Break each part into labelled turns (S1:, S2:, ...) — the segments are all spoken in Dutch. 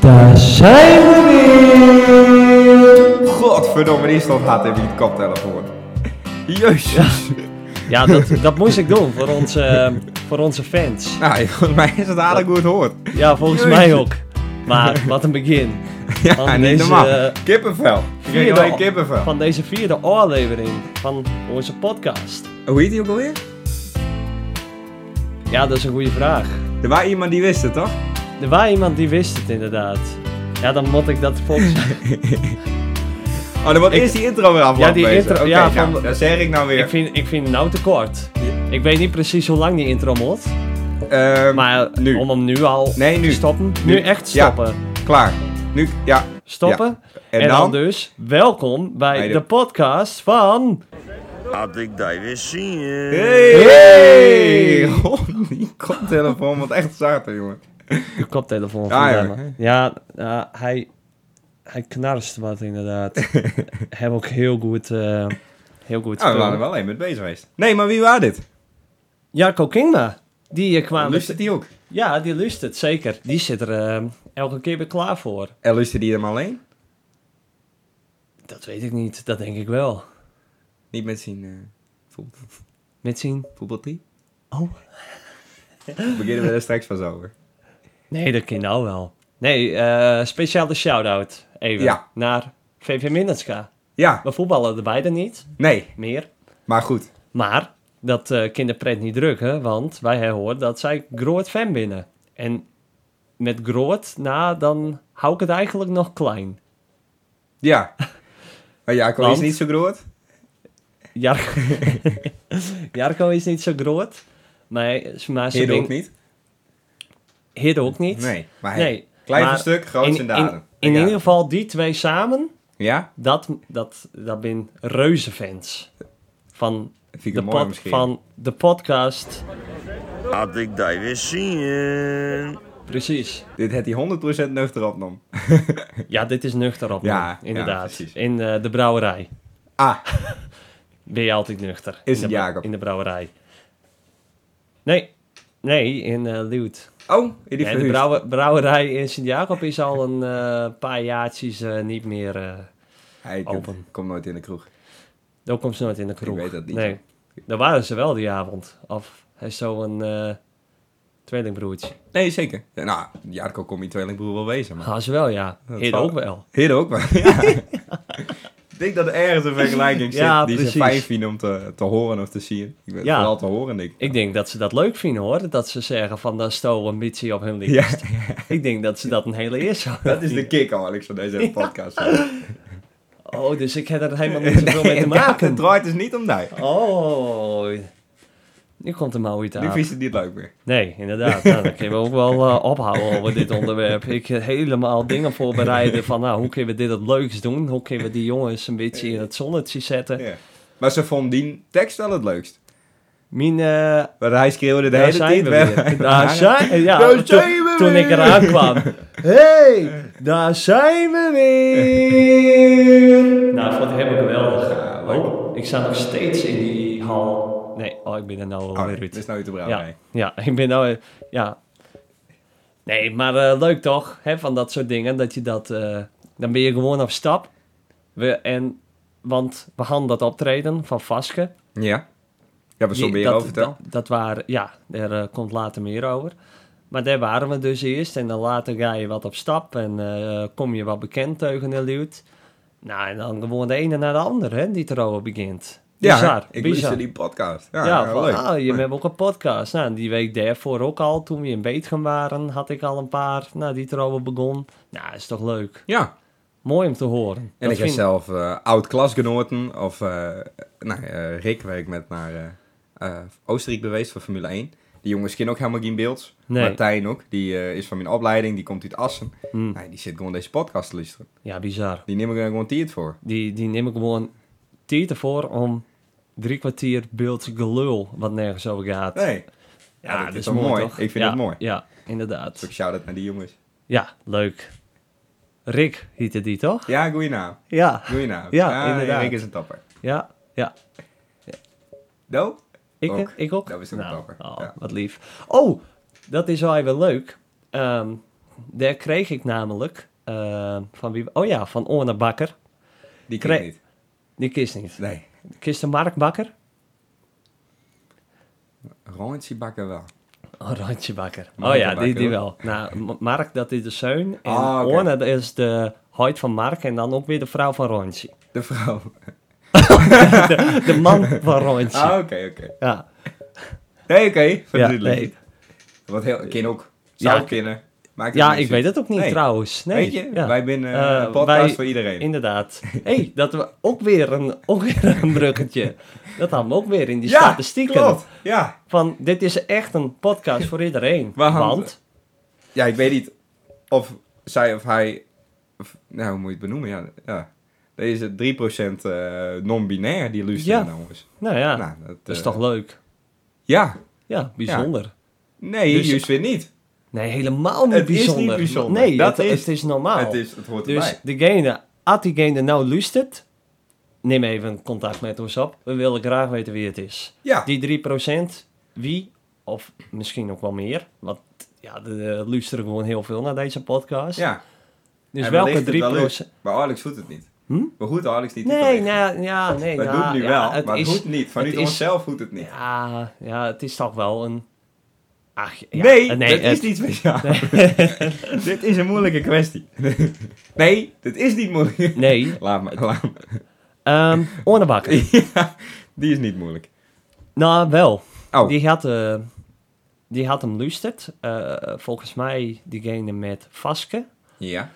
S1: Daar zijn we weer!
S2: Godverdomme, die stond hard in die koptelefoon. Jezus.
S3: Ja, dat, dat moest ik doen voor onze, eh, voor onze fans.
S2: Nou, volgens mij is het aardig goed hoort.
S3: Ja, volgens
S2: Jeetje.
S3: mij ook. Maar wat een begin
S2: Ja,
S3: Van
S2: niet
S3: deze,
S2: normaal.
S3: eh,
S2: Kippenvel. Ik kreeg
S3: vierde-
S2: alleen kippenvel.
S3: van deze vierde oorlevering van onze podcast.
S2: Hoe heet die ook alweer?
S3: Ja, dat is een goede vraag.
S2: Er was iemand die wist het, toch?
S3: Er was iemand die wist het inderdaad. Ja, dan moet ik dat volgens mij...
S2: Oh, dan wordt
S3: Ik-
S2: eerst die intro weer afgelopen.
S3: die
S2: bezig.
S3: intro-
S2: Oké,
S3: ja,
S2: nou,
S3: van-
S2: dat zeg ik nou
S3: Ik
S2: weer.
S3: vind, ik vind hem nou te kort. Ik weet niet precies hoe lang die intro moet.
S2: Ehm,
S3: Maar eh,
S2: nu.
S3: om hem nu al
S2: Nee, nu.
S3: te stoppen.
S2: Nu.
S3: Nu echt
S2: Ja.
S3: stoppen.
S2: Klaar. Nu, ja.
S3: Stoppen.
S2: En
S3: En, dan?
S2: dan?
S3: dus, welkom bij
S2: Bij de-
S3: de podcast van...
S4: Had ik dat weer zien.
S2: Hey! hey. Oh, die koptelefoon wordt echt zater, jongen. Nou,
S3: De koptelefoon
S2: Ah,
S3: van
S2: ja.
S3: Lemmer. Ja, ja, hij, hij knarst wat inderdaad. Heb ook heel goed, eh heel goed
S2: Nou, we
S3: spul.
S2: waren er wel even mee bezig geweest. Nee, maar wie waren dit?
S3: Jaco Kingma, die eh, kwam...
S2: Luistert die ook?
S3: Ja, die luistert, zeker. Die zit er eh, elke keer weer klaar voor.
S2: En luistert die hem alleen?
S3: Dat weet ik niet, dat denk ik wel.
S2: Niet met zijn eh, voet-
S3: Met zien?
S2: voetbalteam?
S3: Oh.
S2: We beginnen we er straks van over.
S3: Nee, dat kan nou wel. Nee, eh, speciale shout-out even
S2: Ja.
S3: naar VV Minnetska.
S2: Ja,
S3: We voetballen er beide niet,
S2: nee,
S3: meer.
S2: maar goed.
S3: Maar dat eh kinderpret niet drukken, want wij horen dat zij groot fan binnen. En met groot, na, dan hou ik het eigenlijk nog klein.
S2: Ja. Maar Jacob
S3: Want?
S2: is niet zo groot.
S3: Jarko, Jarko is niet zo groot, maar, maar ze
S2: Heer ook
S3: brengt-
S2: niet.
S3: Heerde ook niet.
S2: Nee, maar hij-
S3: nee.
S2: klein van
S3: maar
S2: stuk, groot
S3: in-
S2: zijn daden.
S3: In, in
S2: Ja.
S3: ieder geval die twee samen,
S2: Ja?
S3: dat, dat, dat ben reuze fans. Van
S2: Vind ik
S3: de,
S2: het mooi
S3: pod-
S2: misschien.
S3: van de podcast,
S4: Had ik dat weer zien.
S3: precies.
S2: Dit had hij 100% nuchter opnam.
S3: Ja, dit is nuchter op.
S2: Ja, ja,
S3: inderdaad.
S2: precies.
S3: in eh, de brouwerij
S2: Ah,
S3: ben je altijd nuchter. in
S2: Is
S3: de,
S2: het
S3: brou-
S2: Jacob?
S3: In de brouwerij. Nee, nee, in eh Leeuwarden.
S2: oh, in die
S3: Nee, de
S2: verhuis.
S3: brouwe- brouwerij in Sint-Jacob is al een eh, paar jaartjes eh, niet meer... eh
S2: Hij
S3: open.
S2: komt nooit in de kroeg.
S3: daar komt ze nooit in de kroeg.
S2: weet dat niet.
S3: Nee, daar waren ze wel die avond. Of hij is zo'n eh tweelingbroertje.
S2: Nee, zeker. Ja, nou, Jacob kon mijn tweelingbroer wel wezen. Maar
S3: Ah, ze wel, ja.
S2: Dat
S3: Heer
S2: zal-
S3: ook wel.
S2: Heer ook maar. Ja. Ik denk dat er ergens een vergelijking zit
S3: Ja,
S2: die ze
S3: precies.
S2: fijn vinden om te, te horen of te zien. Ik ben
S3: Ja.
S2: vooral te horen, denk ik.
S3: Ik denk dat ze dat leuk vinden, hoor. Dat ze zeggen van, daar stoel een ambitie op hun liefst.
S2: Ja,
S3: Ik denk dat ze dat een hele eer zouden
S2: dat is de kick, Alex, van deze podcast.
S3: Oh, dus ik heb er helemaal niet zoveel mee te
S2: Ja,
S3: maken.
S2: het draait dus niet om mij.
S3: Oh, nu komt de mouw uit
S2: Nu
S3: aan.
S2: vind je het niet leuk meer.
S3: Nee, inderdaad. Nou, dan kunnen we ook wel eh, ophouden over dit onderwerp. Ik heb helemaal dingen voorbereiden van, nou, hoe kunnen we dit het leuks doen? Hoe kunnen we die jongens een beetje in het zonnetje zetten?
S2: Ja. Maar ze vond die tekst wel het leukst.
S3: Mijn, eh,
S2: Want hij schreeuwde de
S3: daar
S2: hele
S3: zijn
S2: tijd.
S3: we
S2: weg.
S3: weer. Daar zijn, ja,
S2: Daar
S3: toen,
S2: zijn we
S3: toen ik
S2: weer.
S3: eraan kwam. hey, daar zijn we weer. Nou, ik vond het helemaal geweldig. oh, ik sta nog steeds in die hal. Nee, oh, ik ben er nou
S2: Oh,
S3: alweer
S2: dit
S3: uit.
S2: is nou te brouw.
S3: Ja, ja, ik ben nou... Ja. Nee, maar eh, leuk toch? Hè, van dat soort dingen. Dat je dat... eh, dan ben je gewoon op stap. We, en, want we hadden dat optreden van Vaske.
S2: Ja. Ja, maar zo
S3: Die-
S2: meer
S3: dat,
S2: over vertel.
S3: Dat, dat waren... Ja, daar eh, komt later meer over. Maar daar waren we dus eerst. En dan later ga je wat op stap. En eh, kom je wat bekend tegen en Liut. Nou, en dan gewoon de ene naar de ander, hè, die erover begint.
S2: Ja,
S3: Bizar,
S2: ik
S3: bizar.
S2: luister die podcast. Ja,
S3: Ja,
S2: ja,
S3: van,
S2: leuk.
S3: ah, je hebt ook een podcast. Nou, die week daarvoor ook al, toen we in Beetgen waren, had ik al een paar, nou, die erover begon. Nou, is toch leuk.
S2: Ja.
S3: Mooi om te horen.
S2: En
S3: Dat
S2: ik heb
S3: vind-
S2: zelf eh, oud-klasgenoten of eh nou, eh, Rick waar ik met naar eh, eh, Oostenrijk geweest voor Formule 1. Die jongens kennen ook helemaal geen beeld.
S3: Nee.
S2: Martijn ook, die eh, is van mijn opleiding, die komt uit Assen.
S3: Hm.
S2: Nou, die zit gewoon deze podcast te luisteren.
S3: Ja, bizar.
S2: Die neem ik er gewoon tiert voor.
S3: Die, die neem ik gewoon tijd ervoor om drie kwartier beeld gelul, wat nergens over gaat.
S2: Nee, Ja, dat is wel mooi. Ik vind
S3: ja,
S2: het mooi.
S3: Ja, inderdaad.
S2: dus ik shout-out naar die jongens.
S3: Ja, leuk. Rick heette die, toch?
S2: Ja, goeie naam.
S3: Ja,
S2: Goeie naam.
S3: Ja, inderdaad.
S2: Ah, Rick is een topper.
S3: ja, ja.
S2: No?
S3: Ik
S2: Ook.
S3: ook. Ik ook.
S2: Dat was ook
S3: Nou,
S2: dapper.
S3: oh,
S2: Ja.
S3: Wat lief. Oh, dat is wel even leuk. Ehm, daar kreeg ik namelijk eh, van wie? Oh ja, van Orne Bakker.
S2: Die
S3: Kre-
S2: kreeg niet.
S3: Die kist niet.
S2: Nee.
S3: Kist de Mark Bakker?
S2: Rontje bakken wel.
S3: Oh, Randje Bakker.
S2: Mark
S3: oh ja,
S2: Bakker,
S3: die, die
S2: hoor.
S3: wel. Nou, M- Mark, dat is de zoon. En
S2: Ah, oké.
S3: Orne, dat is de huid van Mark. En dan ook weer de vrouw van Rondje.
S2: De vrouw.
S3: De man van Rondje.
S2: Ah, oké, oké.
S3: Ja,
S2: Nee, oké.
S3: ja,
S2: Verduidelijk.
S3: nee.
S2: Wat heel, kin ook. Zou
S3: Ja,
S2: kunnen. Maakt
S3: ja
S2: niet
S3: ik
S2: uit.
S3: weet het ook niet
S2: Nee.
S3: trouwens. Nee.
S2: Weet je,
S3: ja.
S2: wij zijn eh,
S3: Eh,
S2: een podcast
S3: wij-
S2: voor iedereen.
S3: Inderdaad. Hé, hey, dat we ook weer een, ook weer een bruggetje. Dat hadden we ook weer in die
S2: ja,
S3: statistieken.
S2: klopt. Ja.
S3: Van, dit is echt een podcast voor iedereen.
S2: Waar hangt-
S3: Want,
S2: ja, ik weet niet of zij of hij... Of, nou, hoe moet je het benoemen? Ja, ja. Deze 3% eh non-binair die luisteren
S3: Ja.
S2: naar ons.
S3: nou ja,
S2: Nou, dat,
S3: dat is
S2: eh,
S3: toch leuk.
S2: Ja.
S3: Ja, bijzonder.
S2: Nee,
S3: Dus-
S2: juist weer niet.
S3: Nee, helemaal niet
S2: Het is niet
S3: bijzonder.
S2: bijzonder.
S3: Nee,
S2: Dat
S3: het,
S2: is-
S3: het is normaal.
S2: Het, is, het hoort
S3: dus
S2: erbij.
S3: degene, als diegene nou luistert, neem even contact met ons op. We willen graag weten wie het is.
S2: Ja.
S3: Die 3%, wie, of misschien ook wel meer. Want ja, de, de luisteren gewoon heel veel naar deze podcast.
S2: ja.
S3: Dus
S2: En wellicht
S3: welke
S2: het wel
S3: 3%?
S2: lukt. Maar Alex doet het niet.
S3: Hm?
S2: We goed Alex niet.
S3: nee,
S2: nee.
S3: nou, ja, nee.
S2: Dat
S3: nou,
S2: doet nu
S3: ja,
S2: wel,
S3: het
S2: maar het
S3: is-
S2: hoeft niet. Vanuit
S3: het is-
S2: onszelf hoeft het niet.
S3: Ja, ja, het is toch wel een... Ach, ja,
S2: nee,
S3: nee,
S2: dat
S3: het-
S2: is niet speciaal. dit is een moeilijke kwestie. nee, dit is niet moeilijk.
S3: Nee,
S2: Laat maar, laat maar.
S3: Ehm Ornebakker.
S2: Ja, die is niet moeilijk.
S3: Nou, wel.
S2: Oh,
S3: Die, had, eh, die had hem luisterd. Eh, volgens mij diegene met Vaske.
S2: ja.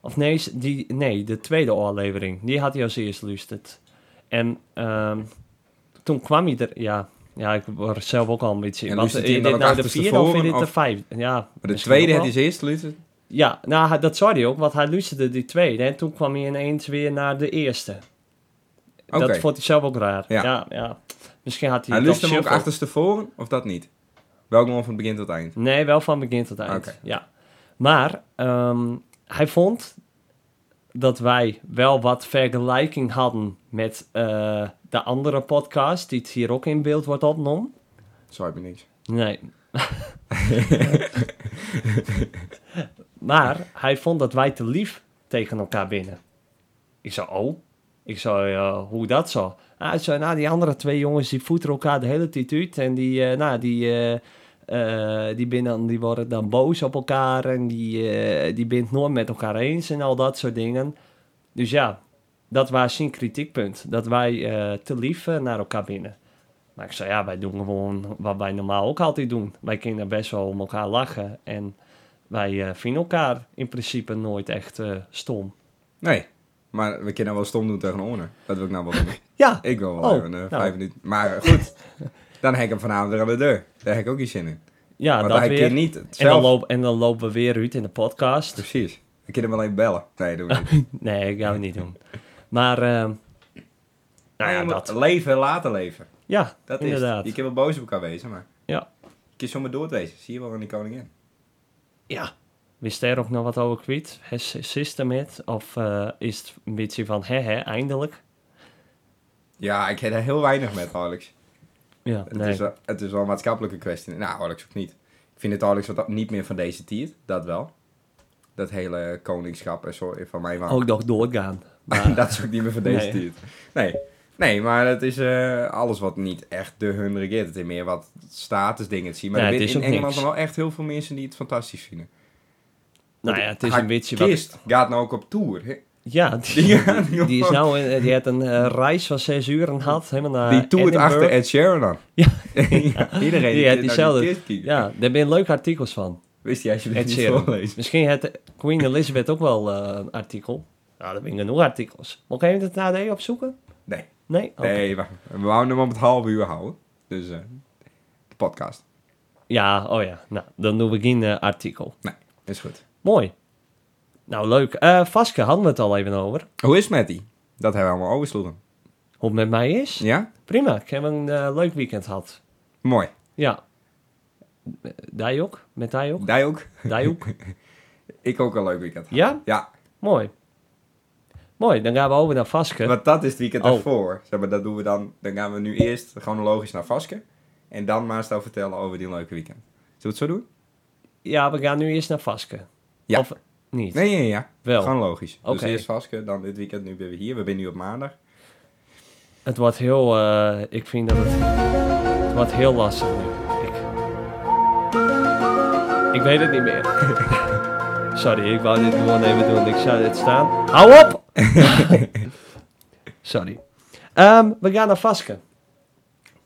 S3: Of nee, die, nee, de tweede oorlevering. Die had hij als eerst luisterd. En ehm, toen kwam hij er... Ja, ja, ik word zelf ook al een beetje...
S2: En
S3: want,
S2: luistert
S3: eh,
S2: hij
S3: dit
S2: hem dan
S3: nou
S2: ook
S3: de vierde of is
S2: achterstevoren,
S3: dit de
S2: of-
S3: vijfde? Ja,
S2: Maar de
S3: misschien ook
S2: tweede
S3: wel.
S2: had hij zijn eerst luisterd.
S3: Ja, nou, hij- dat zei hij ook, want hij luisterde die tweede. En toen kwam hij ineens weer naar de eerste. Dat
S2: Oké.
S3: vond hij zelf ook raar. Ja,
S2: Ja.
S3: ja. Misschien had hij
S2: Hij
S3: het op
S2: luisterde hem ook
S3: shuffle.
S2: achterstevoren, of dat niet? Welk man van begin tot eind?
S3: Nee, wel van begin tot eind.
S2: Oké.
S3: Ja. Maar ehm, hij vond dat wij wel wat vergelijking hadden met eh, de andere podcast die het hier ook in beeld wordt opgenomen.
S2: Sorry, ben niks.
S3: Nee. maar hij vond dat wij te lief tegen elkaar binnen. Ik zei, oh. Ik zei, eh, hoe dat zo? Ah, hij zei, nou, die andere twee jongens die voeten elkaar de hele tijd uit. En die, eh, nou, die, eh, eh, die, binnen, die worden dan boos op elkaar. En die, eh, die bent nooit met elkaar eens en al dat soort dingen. Dus ja, dat was zijn kritiekpunt. Dat wij eh, te lief eh, naar elkaar binnen. Maar ik zei, ja, wij doen gewoon wat wij normaal ook altijd doen. Wij kunnen best wel om elkaar lachen. En wij eh, vinden elkaar in principe nooit echt eh, stom.
S2: Nee, maar we kunnen wel stom doen tegen Orne. Dat wil ik nou wel doen.
S3: Ja,
S2: Ik wil wel
S3: Oh,
S2: even eh,
S3: nou.
S2: vijf minuten. Maar eh, goed, dan heb ik hem vanavond weer aan de deur. Daar heb ik ook geen zin in.
S3: ja
S2: Want
S3: dat
S2: hij
S3: weer.
S2: kan niet het
S3: en, dan
S2: zelf- Dus-
S3: loop, en dan lopen we weer uit in de podcast.
S2: Precies. Ik kan hem alleen bellen. Nee, doe ik niet.
S3: Nee, dat gaan we niet doen. Maar, ehm, nou ja,
S2: Nee, maar
S3: dat.
S2: Leven, laten leven.
S3: Ja,
S2: Dat is
S3: inderdaad.
S2: het. Je kan wel boos op elkaar wezen, maar...
S3: Ja.
S2: Je kan zomaar doorwezen. Zie je wel aan die koningin.
S3: Ja. Wist er ook nog wat over kwijt? Has system it? Of eh, is het een beetje van, hè, hè, eindelijk?
S2: Ja, ik heb er heel weinig met, Alex.
S3: Ja,
S2: Het,
S3: nee.
S2: is, wel, het is wel een maatschappelijke kwestie. Nou, Alex ook niet. Ik vind het Alex wat niet meer van deze tier. Dat wel. Dat hele koningschap en zo van mij wel.
S3: Ook nog doorgaan.
S2: dat is ook niet meer van deze
S3: Oh, Nee.
S2: tier. Nee. Nee, maar het is eh, alles wat niet echt de hun regeert. Het is meer wat statusdingen te zien. Maar
S3: Ja,
S2: er
S3: het is
S2: zijn in
S3: ook
S2: Engeland
S3: niks.
S2: wel echt heel veel mensen die het fantastisch vinden.
S3: Nou ja, het is
S2: Haar
S3: een beetje wat...
S2: Kist gaat nou ook op tour. hè?
S3: Ja, die,
S2: Ja, die,
S3: die, is nou, in- die had een eh, reis van zes uur en had helemaal naar
S2: Die toert
S3: eh, Edinburgh.
S2: achter Ed Sheeran aan.
S3: Ja.
S2: Ja, Iedereen
S3: Die had
S2: kent nou
S3: diezelfde-
S2: die kist kijken.
S3: Ja, daar ben leuke artikels van.
S2: Wist jij alsjeblieft
S3: Ed
S2: niet
S3: Sheeran.
S2: voorlezen?
S3: Misschien had Queen Elizabeth ook wel eh, een artikel. Nou, daar ben genoeg artikels. Moet ik even het AD opzoeken?
S2: Nee.
S3: Nee? Oké.
S2: Nee, wacht. we wouden hem op het halve uur houden. Dus eh, de podcast.
S3: Ja, oh ja. Nou, dan doen we geen eh, artikel.
S2: Nee, is goed.
S3: Mooi. Nou, leuk. Eh Vaske hadden we het al even over.
S2: Hoe is het met die? Dat hebben we allemaal oversloegen.
S3: Hoe het met mij is?
S2: Ja?
S3: Prima, ik heb een eh, leuk weekend gehad.
S2: Mooi.
S3: Ja. Eh, Jij ook? Met jij ook?
S2: Jij ook?
S3: Jij ook?
S2: Ik ook een leuk weekend.
S3: Ja?
S2: Ja,
S3: Mooi. Mooi, dan gaan we over naar Vaske.
S2: want dat is het weekend
S3: Oh.
S2: ervoor. Zeg maar, dat doen we dan. Dan gaan we nu eerst chronologisch naar Vaske. En dan maar eens vertellen over die leuke weekend. Zullen we het zo doen?
S3: Ja, we gaan nu eerst naar Vaske.
S2: Ja.
S3: Of niet?
S2: Nee, ja, ja.
S3: Wel.
S2: Gewoon logisch. Dus
S3: Oké.
S2: eerst Vaske, dan dit weekend, nu ben we hier. We zijn nu op maandag.
S3: Het wordt heel... eh, ik vind dat het... Het wordt heel lastig nu. Ik, ik weet het niet meer. Sorry, ik wou dit gewoon even doen. Ik zou dit staan. Hou op! Sorry. Ehm, we gaan naar Vaske.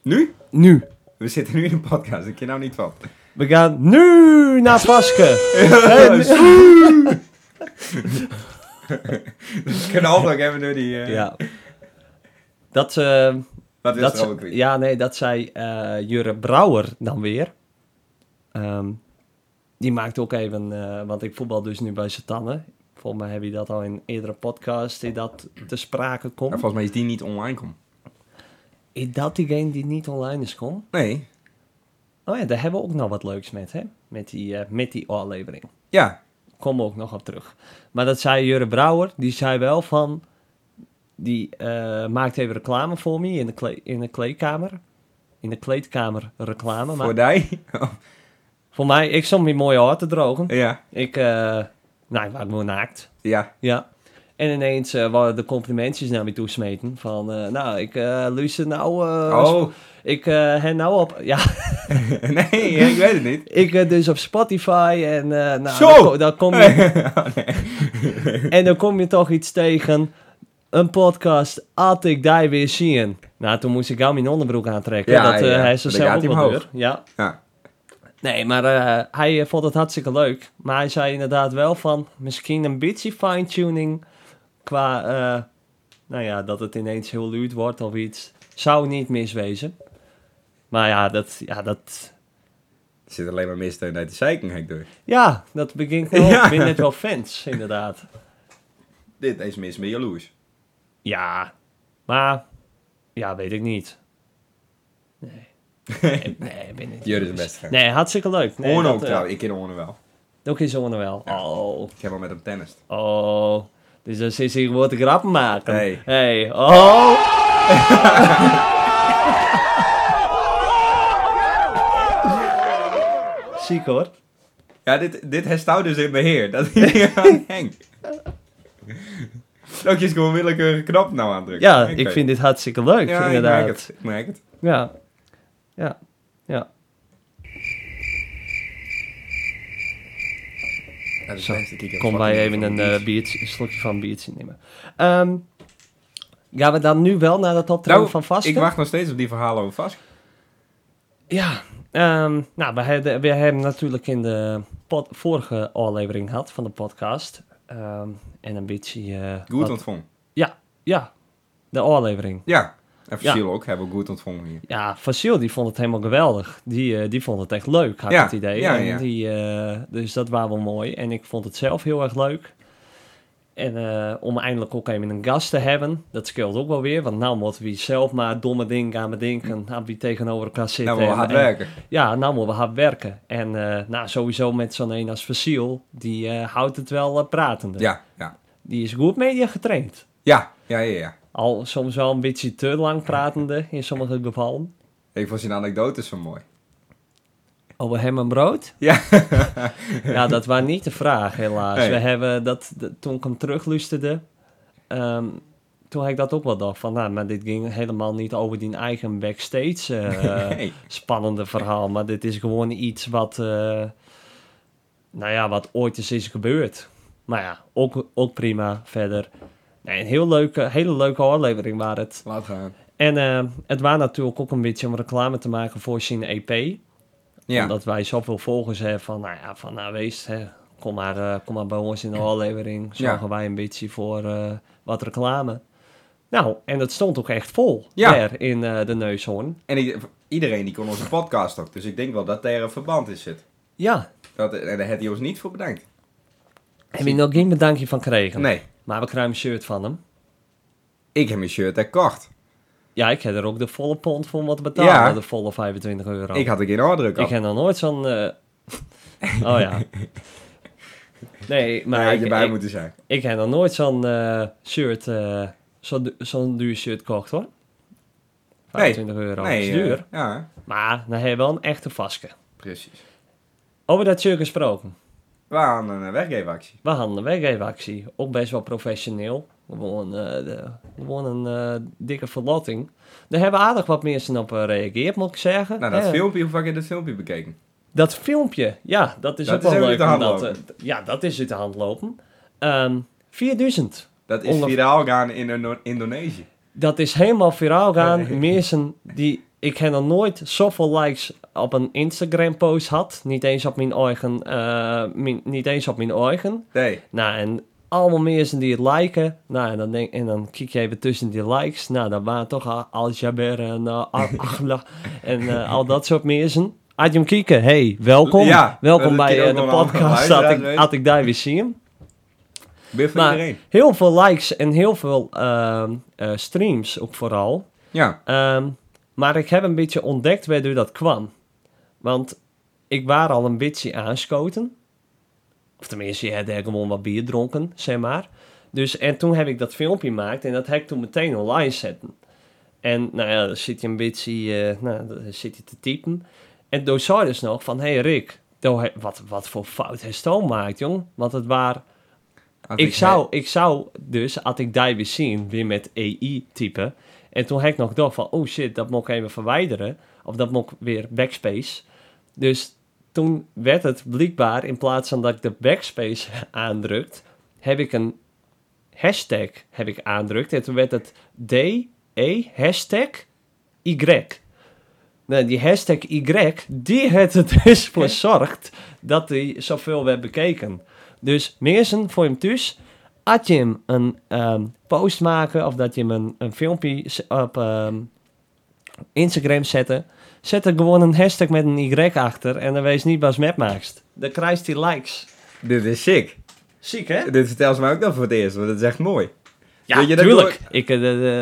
S2: Nu?
S3: Nu.
S2: We zitten nu in een podcast. Ik ken nou niet wat.
S3: We gaan nu naar Vaske.
S2: Dus ik kan altijd ook even door die... eh,
S3: Ja. Dat... ehm,
S2: Wat is
S3: Dat
S2: er
S3: ze-
S2: ook weer?
S3: ja, nee, dat zei eh Jurre Brouwer dan weer. Ehm, die maakt ook even, eh, want ik voetbal dus nu bij Satannen. Volgens mij heb je dat al in een eerdere podcast, die dat te sprake
S2: Maar
S3: komt.
S2: volgens mij is die niet online kom.
S3: Is dat diegene die niet online is kom?
S2: Nee.
S3: Oh ja, daar hebben we ook nog wat leuks met, hè? Met die, eh met die aflevering.
S2: Ja.
S3: Kom ook nog op terug. Maar dat zei Jurre Brouwer, die zei wel van... Die eh, maakt even reclame voor me in de, kle- in de kleedkamer. In de kleedkamer reclame. maar-
S2: Voor die?
S3: Voor mij, ik stond mijn mooie haar te drogen.
S2: ja.
S3: Ik, eh nou, ik was gewoon naakt.
S2: Ja.
S3: Ja. En ineens eh waren de complimentjes naar me toe smeten. Van, eh, nou, ik eh luister nou... eh,
S2: Oh.
S3: Ik eh hen nou op... Ja,
S2: nee, ik weet het niet.
S3: ik eh, dus op Spotify en... eh, nou,
S2: Zo!
S3: Dan, ko- dan kom je, en dan kom je toch iets tegen. Een podcast, had ik daar weer zien. Nou, toen moest ik al mijn onderbroek aantrekken.
S2: Ja,
S3: dat eh,
S2: ja.
S3: hij zo
S2: Dan
S3: zelf
S2: gaat
S3: ook
S2: hij
S3: wel
S2: omhoog.
S3: deur. Ja.
S2: Ja.
S3: Nee, maar eh, hij eh, vond het hartstikke leuk. Maar hij zei inderdaad wel van misschien een beetje fine-tuning qua, eh, nou ja, dat het ineens heel luid wordt of iets. Zou niet miswezen. Maar ja, dat, ja, dat,
S2: Er zit alleen maar missteun uit de zeiking, ik door.
S3: ja, dat begint wel.
S2: Ja.
S3: Ik vind het wel fans, inderdaad.
S2: Dit is mis meer jaloers.
S3: Ja, maar, ja, weet ik niet. Nee. Nee, nee, ik ben niet.
S2: Jur is een beste vriend.
S3: Nee, hartstikke leuk. Nee,
S2: Orne
S3: dat,
S2: ook
S3: eh,
S2: trouwens. Ik ken Orne wel.
S3: Ook is Orne wel. Oh.
S2: Ik heb al met hem tennist.
S3: Oh, dus dan zit ze hier gewoon te grappen maken.
S2: Hey.
S3: Hey, oh. Ziek hoor.
S2: Ja, dit, dit herstout dus in beheer. Dat is aan Henk. Ook je is gewoon willekeurige knop nou aandrukken.
S3: Ja,
S2: Oké.
S3: ik vind dit hartstikke leuk,
S2: ja,
S3: inderdaad.
S2: Ik merk het. Ik merk het.
S3: Ja. Ja. Ja.
S2: Ja, dus
S3: Zo,
S2: mensen kieken
S3: Kom
S2: fucking
S3: wij even
S2: van
S3: een,
S2: die
S3: eh, biertje, een slokje van een biertje nemen. Ehm, gaan we dan nu wel naar dat optreden
S2: Nou,
S3: van vast?
S2: Ik wacht nog steeds op die verhalen over vast.
S3: Ja, ehm, nou, we hebben, we hebben natuurlijk in de pod- vorige aflevering gehad van de podcast. ehm, en een beetje... eh,
S2: Goed
S3: wat-
S2: ontvangen.
S3: Ja, ja. De aflevering.
S2: Ja. En Fasiel ook hebben we goed ontvangen hier.
S3: Ja, Fasil die vond het helemaal geweldig. Die, eh, die vond het echt leuk, had ik
S2: Ja,
S3: het idee.
S2: ja,
S3: En
S2: ja.
S3: Die, eh, dus dat was wel mooi. En ik vond het zelf heel erg leuk. En eh, om eindelijk ook even een gast te hebben, dat scheelt ook wel weer. Want nou moeten we zelf maar domme dingen gaan bedenken. Aan wie tegenover elkaar zitten.
S2: Nou, we
S3: en-
S2: hard
S3: en-
S2: werken.
S3: eh, Ja, nou moeten we hard werken. En eh, nou, sowieso met zo'n een als Fasil, die eh, houdt het wel eh, pratende.
S2: Ja, ja.
S3: Die is goed media getraind.
S2: Ja, ja, ja, ja.
S3: Al soms wel een beetje te lang pratende in sommige gevallen.
S2: Ik vond zijn anekdotes zo mooi.
S3: Over hem en brood?
S2: Ja.
S3: Ja, dat was niet de vraag, helaas.
S2: Nee.
S3: We hebben dat, dat- toen ik hem terugluisterde, ehm, toen had ik dat ook wel dacht van, nou, maar dit ging helemaal niet over die eigen backstage eh,
S2: Nee.
S3: spannende verhaal. Maar dit is gewoon iets wat, eh, nou ja, wat ooit eens is gebeurd. Maar ja, ook, ook prima verder. Nee, een heel leuke, hele leuke aflevering waar het.
S2: Laat gaan.
S3: En eh, het was natuurlijk ook een beetje om reclame te maken voor E zijn EP.
S2: Ja.
S3: Omdat wij zoveel volgers hebben van, nou ja, van nou wees, hè, kom, maar, eh, kom maar bij ons in de aflevering. Zorgen
S2: Ja.
S3: wij een beetje voor eh, wat reclame. Nou, en dat stond ook echt vol
S2: Ja.
S3: daar in eh, de neushoorn.
S2: En i- iedereen die kon onze podcast ook. Dus ik denk wel dat daar een verband in zit.
S3: Ja,
S2: Dat, en daar had hij ons niet voor bedankt.
S3: heb je nog geen bedankje van gekregen?
S2: Nee.
S3: Maar we krijgen een shirt van hem.
S2: Ik heb mijn shirt gekocht.
S3: Ja, ik heb er ook de volle pond voor moeten betalen,
S2: Ja.
S3: de volle 25 euro.
S2: Ik had er geen oordruk
S3: Ik
S2: op.
S3: heb nog nooit zo'n... eh, Oh ja. Nee, maar
S2: Maar had
S3: ik,
S2: je bij
S3: ik-
S2: moeten zijn.
S3: ik heb nog nooit zo'n eh, shirt, eh, zo du- zo'n duur shirt gekocht hoor. 25 euro,
S2: Nee,
S3: is duur.
S2: eh, ja,
S3: Maar dan heb je wel een echte vaske.
S2: precies.
S3: Over dat shirt gesproken.
S2: We aan een eh, weggeefactie.
S3: We hadden een weggeefactie. Ook best wel professioneel. Gewoon, eh, de- gewoon een eh, dikke verlotting. Daar hebben aardig wat mensen op eh, gereageerd, moet ik zeggen.
S2: Nou, dat
S3: Eh,
S2: filmpje, hoe vaak heb je dat filmpje bekeken?
S3: Dat filmpje, ja, dat is
S2: Dat
S3: ook
S2: is
S3: wel
S2: ook
S3: leuk.
S2: uit de hand
S3: omdat,
S2: lopen.
S3: eh, ja, dat is uit de hand lopen. Ehm, 4000.
S2: Dat is
S3: Onder-
S2: viraal gaan in Indo- Indonesië.
S3: Dat is helemaal viraal gaan. Mensen die... Ik heb nog nooit zoveel likes op een Instagram post had. Niet eens op mijn eigen... eh, mijn- niet eens op mijn eigen.
S2: Nee,
S3: Nou, en allemaal mensen die het liken. Nou, en dan, denk, en dan kijk je even tussen die likes. Nou, dan waren toch al- Al-Jaber en eh, Al- Akhla en eh, al dat soort mensen. Had je hem kijken? Hey, welkom.
S2: Ja,
S3: welkom
S2: dat
S3: bij
S2: kun je
S3: eh,
S2: ook
S3: de
S2: wel aan-
S3: podcast.
S2: luisteren,
S3: Had
S2: dat
S3: ik,
S2: weet
S3: had ik daar weer zien.
S2: weer voor
S3: Maar
S2: iedereen.
S3: heel veel likes en heel veel ehm, eh, streams ook vooral.
S2: Ja,
S3: Ehm, maar ik heb een beetje ontdekt waardoor dat kwam. Want ik was al een beetje aanschoten. Of tenminste, je had er gewoon wat bier dronken, zeg maar. Dus, en toen heb ik dat filmpje gemaakt en dat heb ik toen meteen online zetten. En nou ja, dan zit je een beetje, eh, nou, dan zit je te typen. En toen zei dus nog van, hé hey Rick, toen he- wat, wat voor fout heeft Toon gemaakt, jong? Want het waren
S2: had
S3: ik zou, ik zou dus, had ik die weer zien, weer met AI typen. En toen heb ik nog gedacht van, oh shit, dat moet ik even verwijderen. Of dat moet ik weer backspace. Dus toen werd het blijkbaar, in plaats van dat ik de backspace aandrukt, heb ik een hashtag heb ik aandrukt. En toen werd het DE hashtag Y. Nou, die hashtag Y, die heeft er dus voor zorgt dat hij zoveel werd bekeken. Dus mensen, voor hem thuis, had je hem een ehm, post maken of dat je hem een, een filmpje z- op ehm, Instagram zette, zet er gewoon een hashtag met een Y achter en dan wees niet Bas met maakst. Dan krijgt hij likes.
S2: Dit is sick.
S3: Ziek, hè?
S2: Dit vertel ze mij ook nog voor het eerst, want dat is echt mooi.
S3: Ja,
S2: Weet je, dat
S3: tuurlijk. Ik, eh,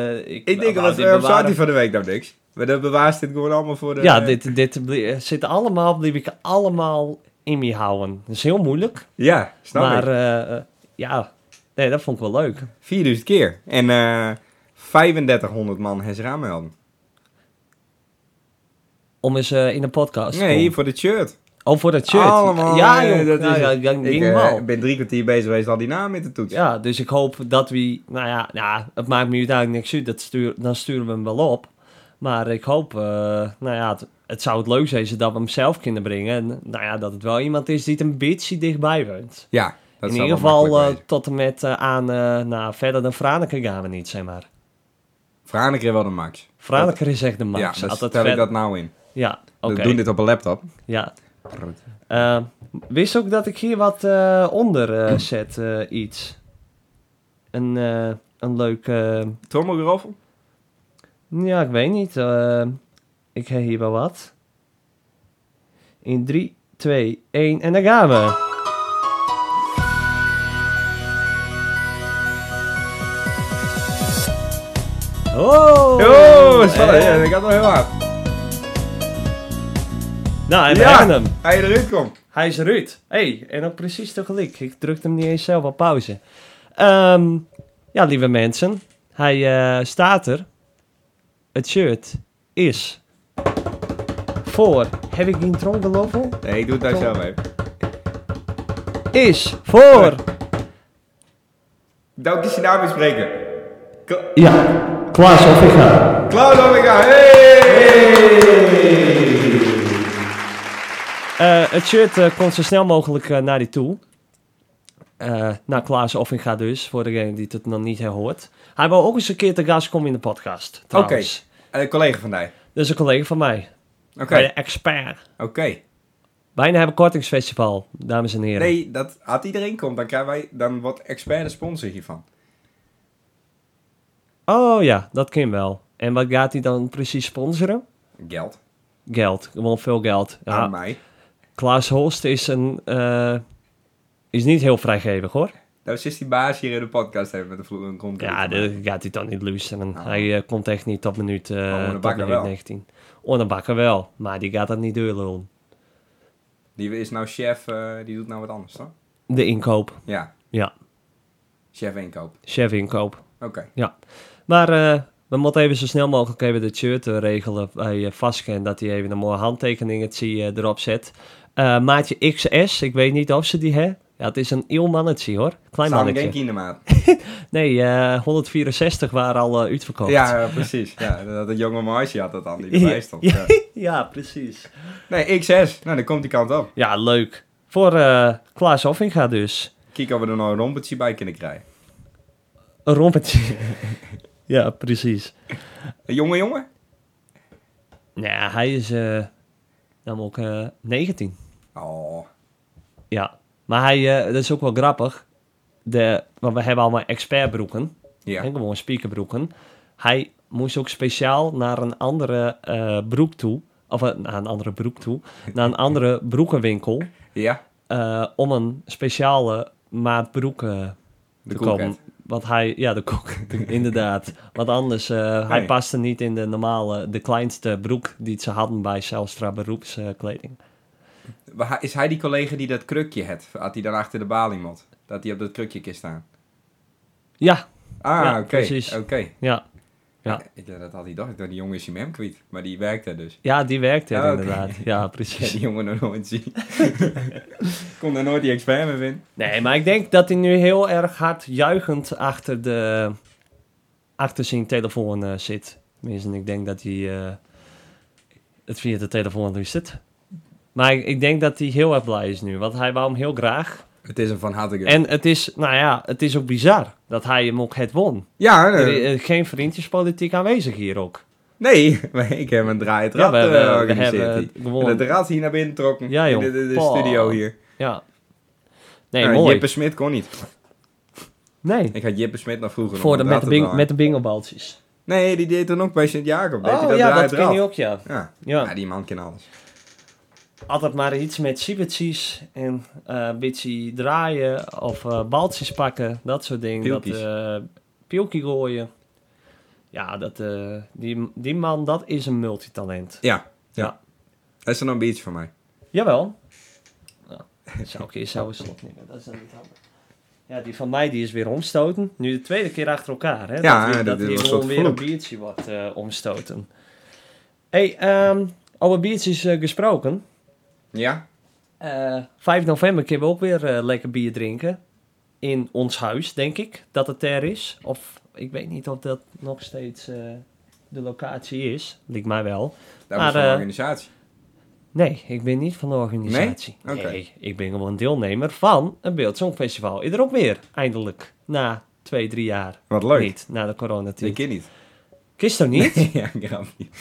S3: eh, ik,
S2: Ik
S3: nou,
S2: denk, wat
S3: dit
S2: we op
S3: bewaren-
S2: Saturday van de week nou niks. Maar dat bewaart dit gewoon allemaal voor de...
S3: Ja, dit, dit blie- zit allemaal, blijf ik allemaal in me houden. Dat is heel moeilijk,
S2: Ja, snap
S3: maar
S2: ik.
S3: eh, eh, ja, nee, dat vond ik wel leuk.
S2: 4000 keer. En eh 3500 man heeft zich aanmelden.
S3: Om eens eh, in een podcast te
S2: Nee,
S3: komen.
S2: hier voor de shirt.
S3: Oh, voor dat shirt.
S2: Allemaal.
S3: ja,
S2: eh,
S3: joh.
S2: dat
S3: Nou
S2: is,
S3: ja, ja,
S2: ik eh,
S3: helemaal.
S2: ben drie kwartier bezig geweest al die naam in te toetsen.
S3: ja, dus ik hoop dat we... Nou ja, nou, het maakt me uiteindelijk niks uit. Dat stuur, dan sturen we hem wel op. Maar ik hoop... eh, nou ja, het, het zou het leuk zijn dat we hem zelf kunnen brengen. En nou ja, dat het wel iemand is die het een beetje dichtbij woont.
S2: Ja, dat
S3: in
S2: zal
S3: ieder
S2: wel
S3: geval
S2: makkelijk
S3: eh,
S2: wezen.
S3: tot en met eh, aan... eh, nou, verder dan Franeker gaan we niet, zeg maar.
S2: Vraag een keer wel de max.
S3: Franeker is echt de max.
S2: ja, dan
S3: Altijd
S2: stel ik
S3: verder-
S2: dat nou in.
S3: Ja, oké.
S2: We doen dit op een laptop.
S3: Ja. Eh, wist ook dat ik hier wat eh, onder eh, zet, eh, iets. Een, eh, een leuk... eh,
S2: Trommelgeroffel?
S3: ja, ik weet niet. eh, ik heb hier wel wat. In 3, 2, 1 en daar gaan we. Oh!
S2: Oh, spannend.
S3: Eh,
S2: Ja, dat gaat wel heel hard.
S3: Nou, en we
S2: Ja.
S3: hebben hem.
S2: Hij eruit komt.
S3: Hij is eruit. hey, en ook precies tegelijk. Ik drukte hem niet eens zelf op pauze. Ehm, ja, lieve mensen. Hij eh, staat er. Het shirt is voor... Heb ik die tronkenloffel?
S2: Nee, ik doe het daar
S3: Kom.
S2: zelf mee.
S3: Is voor...
S2: Nou, die naam spreken. Kla-
S3: Ja, Klaas of ik ga.
S2: Klaus Omega, hey!
S3: Eh, het shirt eh, komt zo snel mogelijk eh, naar die toe. Eh naar Klaas Offinga dus, voor degene die het nog niet herhoort. Hij wil ook eens een keer te gast komen in de podcast, trouwens.
S2: Eh, collega van mij.
S3: Dat is een collega van mij.
S2: Oké,
S3: Bij de expert.
S2: oké.
S3: Bijna hebben kortingsfestival, dames en heren.
S2: Nee, dat, als iedereen komt, dan, krijgen wij, dan wordt expert de sponsor hiervan.
S3: Oh ja, dat kan wel. En wat gaat hij dan precies sponsoren?
S2: Geld.
S3: Geld, gewoon veel geld.
S2: Aan
S3: Ja,
S2: mij.
S3: Klaas Holst is, een, eh, is niet heel vrijgevig hoor.
S2: Nou, sinds die baas hier in de podcast hebben met de vloer en komt.
S3: Ja, dat gaat hij dan niet luisteren.
S2: Ah.
S3: hij eh, komt echt niet tot minuut, eh
S2: Orne
S3: tot
S2: Bakker
S3: minuut
S2: wel.
S3: 19. Orne Bakker wel, maar die gaat dat niet doorlullen.
S2: Die is nou chef, eh, die doet nou wat anders, toch?
S3: De inkoop,
S2: Ja,
S3: ja.
S2: chef inkoop.
S3: Chef inkoop.
S2: Oké.
S3: Ja. Maar eh, We moeten even zo snel mogelijk even de shirt eh, regelen bij uh, Vasken. Dat hij even een mooie handtekeningetje eh, erop zet. Eh, maatje XS, ik weet niet of ze die hè. Ja, het is een heel mannetje hoor. Klein
S2: Staan geen
S3: mannetje.
S2: kindermaat.
S3: Nee, eh, 164 waren al eh, uitverkocht.
S2: Ja, eh, precies. Ja, dat, dat jonge meisje had dat dan, die
S3: Ja.
S2: erbij stond. Ja.
S3: ja, precies.
S2: Nee, X6. Nou, dan komt die kant op.
S3: Ja, leuk. Voor eh Klaas Hoffinga dus.
S2: Kijk of we er nog een rompertje bij kunnen krijgen.
S3: Een rompetje. ja, precies.
S2: Een jonge jongen?
S3: Nou, hij is eh, namelijk eh 19.
S2: Oh,
S3: Ja. Maar hij, eh, dat is ook wel grappig. De, want we hebben allemaal expertbroeken.
S2: ja.
S3: En gewoon speakerbroeken. Hij moest ook speciaal naar een andere eh, broek toe. Of eh, naar een andere broek toe. Naar een andere broekenwinkel.
S2: Ja,
S3: eh, om een speciale maat broeken
S2: de
S3: te komen.
S2: koelkant.
S3: Want hij, ja, de kok, inderdaad. Want anders, eh, hij
S2: Nee.
S3: paste niet in de normale, de kleinste broek die ze hadden bij Zelstra beroepskleding.
S2: Maar hij- Is hij die collega die dat krukje had? Had hij dan achter de baling moet? Dat hij op dat krukje kist staan?
S3: ja, Ja,
S2: Ah, oké.
S3: precies.
S2: Oké.
S3: ja. Ja.
S2: Ik dacht dat had hij dacht. Ik dacht, die jongen is hem hem kwijt. Maar die werkt er dus.
S3: Ja, die werkte er
S2: Ah, oké.
S3: inderdaad. Ja,
S2: Ik heb
S3: precies.
S2: die jongen nog nooit zien. Kon daar nooit die expert mee vinden.
S3: Nee, maar ik denk dat hij nu heel erg hard juichend achter, de, achter zijn telefoon eh, zit. Tenminste, ik denk dat hij eh, het via de telefoon nu zit. Maar ik, ik denk dat hij heel erg blij is nu, want hij wou hem heel graag.
S2: Het is een van harte gun.
S3: En het is, nou ja, het is ook bizar dat hij hem ook het won.
S2: Ja,
S3: Er
S2: eh,
S3: is eh, geen vriendjespolitiek aanwezig hier ook.
S2: nee. maar Ik heb een draai het rad eh,
S3: we- we- we
S2: georganiseerd.
S3: hebben
S2: hier.
S3: het gewonnen.
S2: En Het rad hier naar binnen trokken.
S3: Ja, joh.
S2: In de, de- de
S3: Pah.
S2: studio hier.
S3: Ja. Nee,
S2: Nou,
S3: mooi.
S2: Jippe Smit kon niet.
S3: Nee,
S2: Ik had Jippe Smit nog vroeger
S3: voor
S2: om
S3: de, met,
S2: het rad
S3: de
S2: te
S3: bing,
S2: draaien.
S3: met de bingobaltjes.
S2: Nee, die deed dan ook bij Sint-Jacob. deed hij
S3: Oh
S2: dat
S3: ja,
S2: draai
S3: dat
S2: het rad.
S3: ken je ook, ja.
S2: Ja.
S3: Ja.
S2: Ja, die man kan alles.
S3: altijd maar iets met siebertjes en eh, een beetje draaien of eh baltjes pakken, dat soort dingen.
S2: Pielkies.
S3: Dat, eh pielkie gooien. Ja, dat, eh, die, die man, dat is een multitalent.
S2: Ja.
S3: Ja.
S2: ja. Dat is een ambitie voor mij.
S3: Jawel. Nou, dat zou ik eerst zo eens opnemen, dat is dan niet handig. Ja, die van mij die is weer omstoten. Nu de tweede keer achter elkaar, hè?
S2: Ja,
S3: dat, weer-
S2: dit-
S3: dat
S2: dit
S3: hier
S2: was
S3: gewoon
S2: tot
S3: weer een
S2: vloek.
S3: biertje wordt eh, omstoten. hey, ehm over biertjes eh, gesproken.
S2: Ja?
S3: Eh, 5 november kunnen we ook weer eh, lekker bier drinken. In ons huis, denk ik, dat het er is. Of ik weet niet of dat nog steeds eh, de locatie is. Lijkt mij wel.
S2: Dat
S3: Maar,
S2: was een
S3: eh,
S2: organisatie.
S3: Nee, ik ben niet van de organisatie.
S2: Nee? Oké.
S3: Nee, ik ben gewoon deelnemer van een beeldzongfestival. Is er ook weer, eindelijk. Na twee, drie jaar.
S2: Wat leuk.
S3: Niet, na de
S2: Ik
S3: coronatijd.
S2: ken niet.
S3: Kist toch niet?
S2: ja, ik grap niet.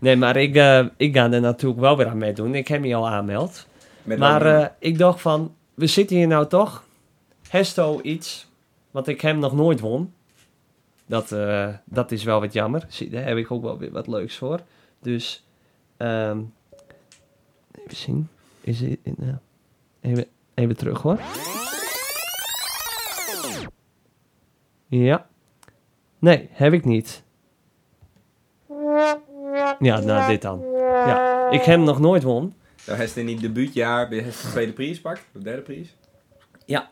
S3: Nee, maar ik, eh, ik ga er natuurlijk wel weer aan meedoen. Ik heb me al aanmeld.
S2: Met
S3: maar
S2: een-
S3: eh, ik dacht van, we zitten hier nou toch. Hesto iets, wat ik hem nog nooit won. Dat, eh, dat is wel wat jammer. Zie, Daar heb ik ook wel weer wat leuks voor. Dus, ehm, even zien. Is het, nou, even, even terug hoor. Ja. Nee, heb ik niet. Ja, nou dit dan. Ja, ik heb hem nog nooit won.
S2: Dan heeft hij niet debuutjaar, bij heeft hij de tweede prijs pakt, de derde prijs.
S3: Ja.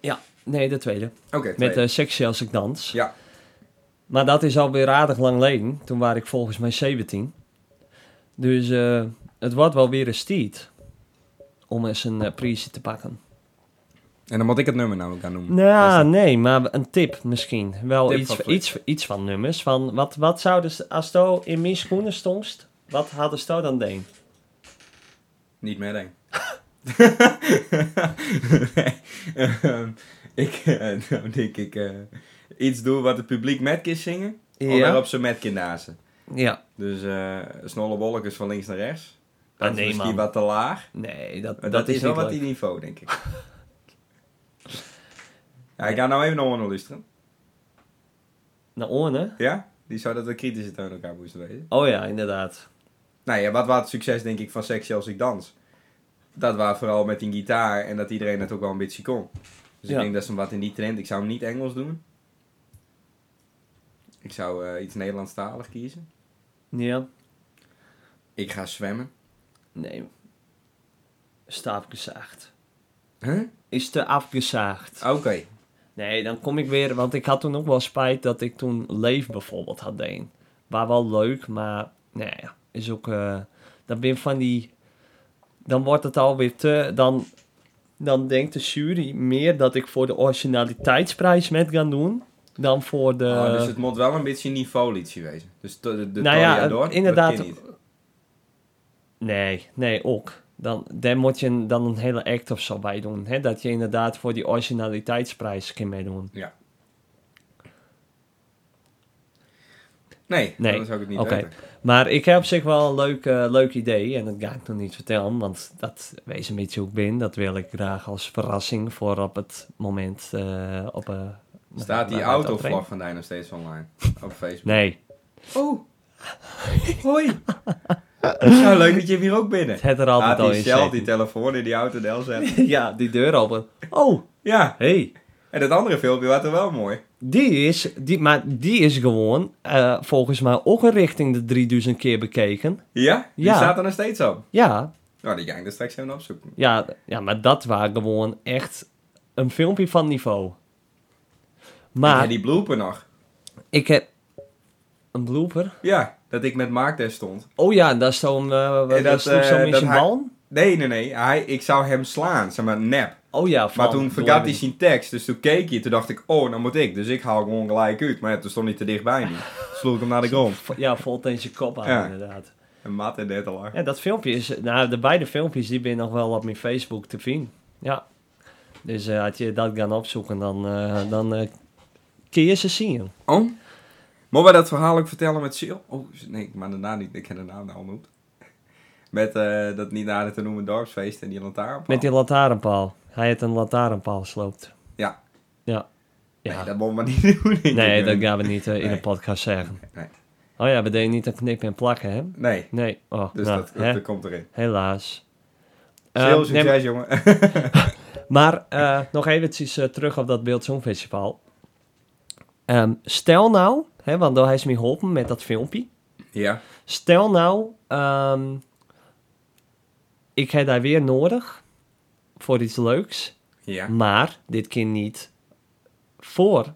S3: Ja. Nee, de tweede.
S2: Oké,
S3: Met
S2: tweede.
S3: eh Sexy als ik dans.
S2: Ja,
S3: Maar dat is alweer aardig lang geleden. Toen was ik volgens mij 17. Dus eh, het wordt wel weer een stiet. Om eens een eh prijsje te pakken.
S2: en dan moet ik het nummer namelijk gaan noemen.
S3: Nou,
S2: Als
S3: nee, maar een tip misschien. Wel
S2: Tip
S3: iets,
S2: van Flik.
S3: iets, iets van nummers. Van wat, wat zouden ze, als je in mijn schoenen stond, wat hadden ze dan deen?
S2: dat Niet meer denk. nee, ehm, ik eh, nou denk ik eh, iets doe wat het publiek met kan zingen, of waarop ze met kan dansen.
S3: Ja.
S2: Dus eh snolle bolletjes van links naar rechts. Dat
S3: Ah, nee,
S2: is misschien
S3: man.
S2: wat te laag,
S3: Nee, dat,
S2: maar
S3: dat,
S2: dat, is,
S3: is
S2: wel
S3: niet
S2: wat
S3: leuk.
S2: die niveau, denk ik. ja, ik ga nou even naar Orne luisteren.
S3: Nou, oren, hè?
S2: Ja? Die zou dat we kritische tegen elkaar moesten wezen.
S3: Oh ja, inderdaad.
S2: Nou ja, wat was het succes denk ik van Sexy als ik dans? Dat was vooral met die gitaar en dat iedereen het ook wel een beetje kon. Dus
S3: Ja.
S2: ik denk dat ze hem wat in die trend. Ik zou hem niet Engels doen. Ik zou eh, iets Nederlandstalig kiezen.
S3: Ja.
S2: Ik ga zwemmen.
S3: Nee. Is te afgezaagd.
S2: Huh?
S3: Is te afgezaagd.
S2: Oké.
S3: Nee, dan kom ik weer, want ik had toen ook wel spijt dat ik toen Leef bijvoorbeeld had deen. Waar wel leuk, maar nee, is ook, eh dan ben van die, dan wordt het alweer te, dan, dan denkt de jury meer dat ik voor de originaliteitsprijs met ga doen, dan voor de...
S2: Oh, dus het moet wel een beetje een niveauliedje wezen. Dus de, de, de
S3: Nou ja,
S2: Toreador,
S3: eh,
S2: dat
S3: inderdaad.
S2: ken je niet.
S3: Nee, nee, ook. Dan, daar moet je een- dan een hele act of zo bij doen. Hè? Dat je inderdaad voor die originaliteitsprijs kan meedoen.
S2: Nee,
S3: Nee,
S2: dan zou ik het niet
S3: oké.
S2: weten.
S3: Maar ik heb op zich wel een leuk, eh, leuk idee. En dat ga ik nog niet vertellen. Want dat wees een beetje hoe ik ben. Dat wil ik graag als verrassing voor op het moment. eh, op, eh, waar-
S2: Staat die
S3: waar het optreedt.
S2: autovlag van daar nog steeds online? Op Facebook?
S3: Nee,
S2: Oh, hoi. Nou, leuk dat je hem hier ook binnen.
S3: het had er altijd
S2: Laat
S3: al
S2: die
S3: in
S2: cel, die
S3: zitten.
S2: telefoon in die auto del zetten.
S3: Ja, die deur open. Oh,
S2: Ja,
S3: hey.
S2: en dat andere filmpje was er wel mooi.
S3: Die is, die, maar die is gewoon eh, volgens mij ook een richting de 3000 keer bekeken.
S2: Ja? Die
S3: Ja.
S2: staat er nog steeds op.
S3: Ja,
S2: Nou, die ga ik er straks even opzoeken.
S3: ja, ja, maar dat was gewoon echt een filmpje van niveau. Maar
S2: En die blooper nog.
S3: ik heb een blooper.
S2: Ja, dat ik met Mark daar stond.
S3: Oh ja, dat is zo'n... eh
S2: dat,
S3: dat sloeg
S2: eh,
S3: zo'n in
S2: dat
S3: zijn
S2: hij-
S3: bal.
S2: Nee, nee, nee. Hij, ik zou hem slaan, zeg maar, nep.
S3: Oh ja, van...
S2: Maar toen vergat hij zijn tekst, dus toen keek hij. Toen dacht ik, oh, dan moet ik. Dus ik haal gewoon gelijk uit. Maar ja, toen stond hij te dichtbij nu. Sloeg ik hem naar de grond.
S3: Ja, vol tegen zijn kop aan,
S2: Ja.
S3: inderdaad.
S2: En Matt en dit al.
S3: Ja, dat filmpje is... Nou, de beide filmpjes, die ben je nog wel op mijn Facebook te zien. Ja. Dus eh, had je dat gaan opzoeken, dan, eh, dan eh, kun je ze zien.
S2: Oh? Mogen we dat verhaal ook vertellen met Sil? Oh, nee, maar daarna niet. Ik ken de naam nou niet. Met eh, dat niet nader te noemen dorpsfeest en die lantaarn.
S3: Met die lantaarnpaal. Hij heeft een lantaarnpaal sloopt.
S2: Ja.
S3: Ja. Ja.
S2: Nee, dat moet maar niet doen. denk ik.
S3: Nee, dat gaan we niet eh, in
S2: Nee.
S3: de podcast zeggen.
S2: Nee.
S3: Oh ja, we deden niet aan knippen en plakken, hè?
S2: Nee,
S3: Nee. Oh,
S2: dus
S3: nou,
S2: dat, dat,
S3: hè?
S2: komt erin.
S3: helaas. Eh,
S2: Sil,
S3: nee,
S2: succes jongen.
S3: maar eh, nog eventjes eh, terug op dat Beeld Songfestival. Ehm, stel nou, hè, want hij is me geholpen met dat filmpje.
S2: ja.
S3: Stel nou, ehm, ik heb daar weer nodig voor iets leuks.
S2: Ja.
S3: Maar dit keer niet voor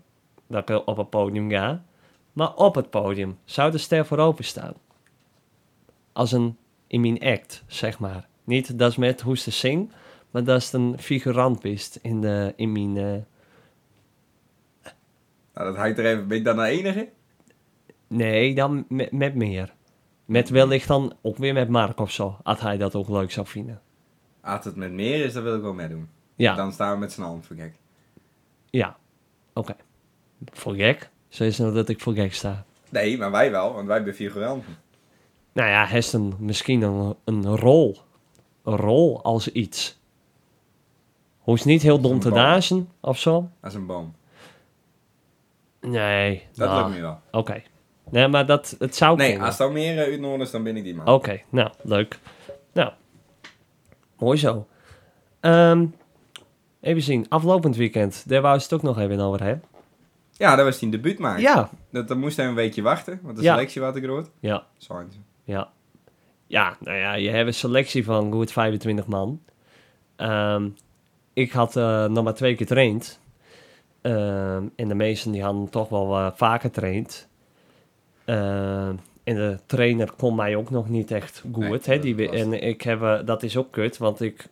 S3: dat ik op het podium ga, maar op het podium. Zou de ster voor openstaan? Als een in mijn act, zeg maar. Niet dat is met hoe ze zing, maar dat is een figurant bist in, de, in mijn. eh,
S2: Nou, dat hangt er even. Ben ik dan de enige?
S3: nee, dan met, met meer. Met wellicht dan ook weer met Mark of zo, als hij dat ook leuk zou vinden.
S2: Als het met meer is, dan wil ik wel meedoen.
S3: Ja,
S2: Dan staan we met z'n allen voor gek.
S3: ja. Oké. Voor gek? Zo is het dat ik voor gek sta.
S2: Nee, maar wij wel, want wij hebben figuranten.
S3: Nou ja, heeft een, misschien een, een rol. Een rol als iets. Hoe is niet heel dom
S2: Een
S3: te
S2: bal.
S3: dazen of zo?
S2: Dat is een boom.
S3: Nee.
S2: Dat
S3: nou,
S2: lukt me wel.
S3: Oké. Nee, maar dat, het zou
S2: Nee,
S3: kunnen.
S2: als dan meer eh, uit Noord is, dan ben ik die man.
S3: Oké, nou, leuk. Nou, mooi zo. Ehm, even zien, aflopend weekend. Daar wou ze het ook nog even over hebben.
S2: Ja, dat was die debuut maken.
S3: Ja,
S2: Dat, dan moest hij een weekje wachten, want de
S3: Ja.
S2: selectie wat ik groot.
S3: ja,
S2: Sorry.
S3: ja. Ja, nou ja, je hebt een selectie van goed 25 man. Ehm, ik had eh, nog maar twee keer traind. Ehm, en de meesten die hadden toch wel eh, vaker traind. Ehm, en de trainer kon mij ook nog niet echt
S2: Nee,
S3: goed. hè,
S2: dat
S3: die, we-
S2: was-
S3: en ik heb, eh, dat is ook kut, want ik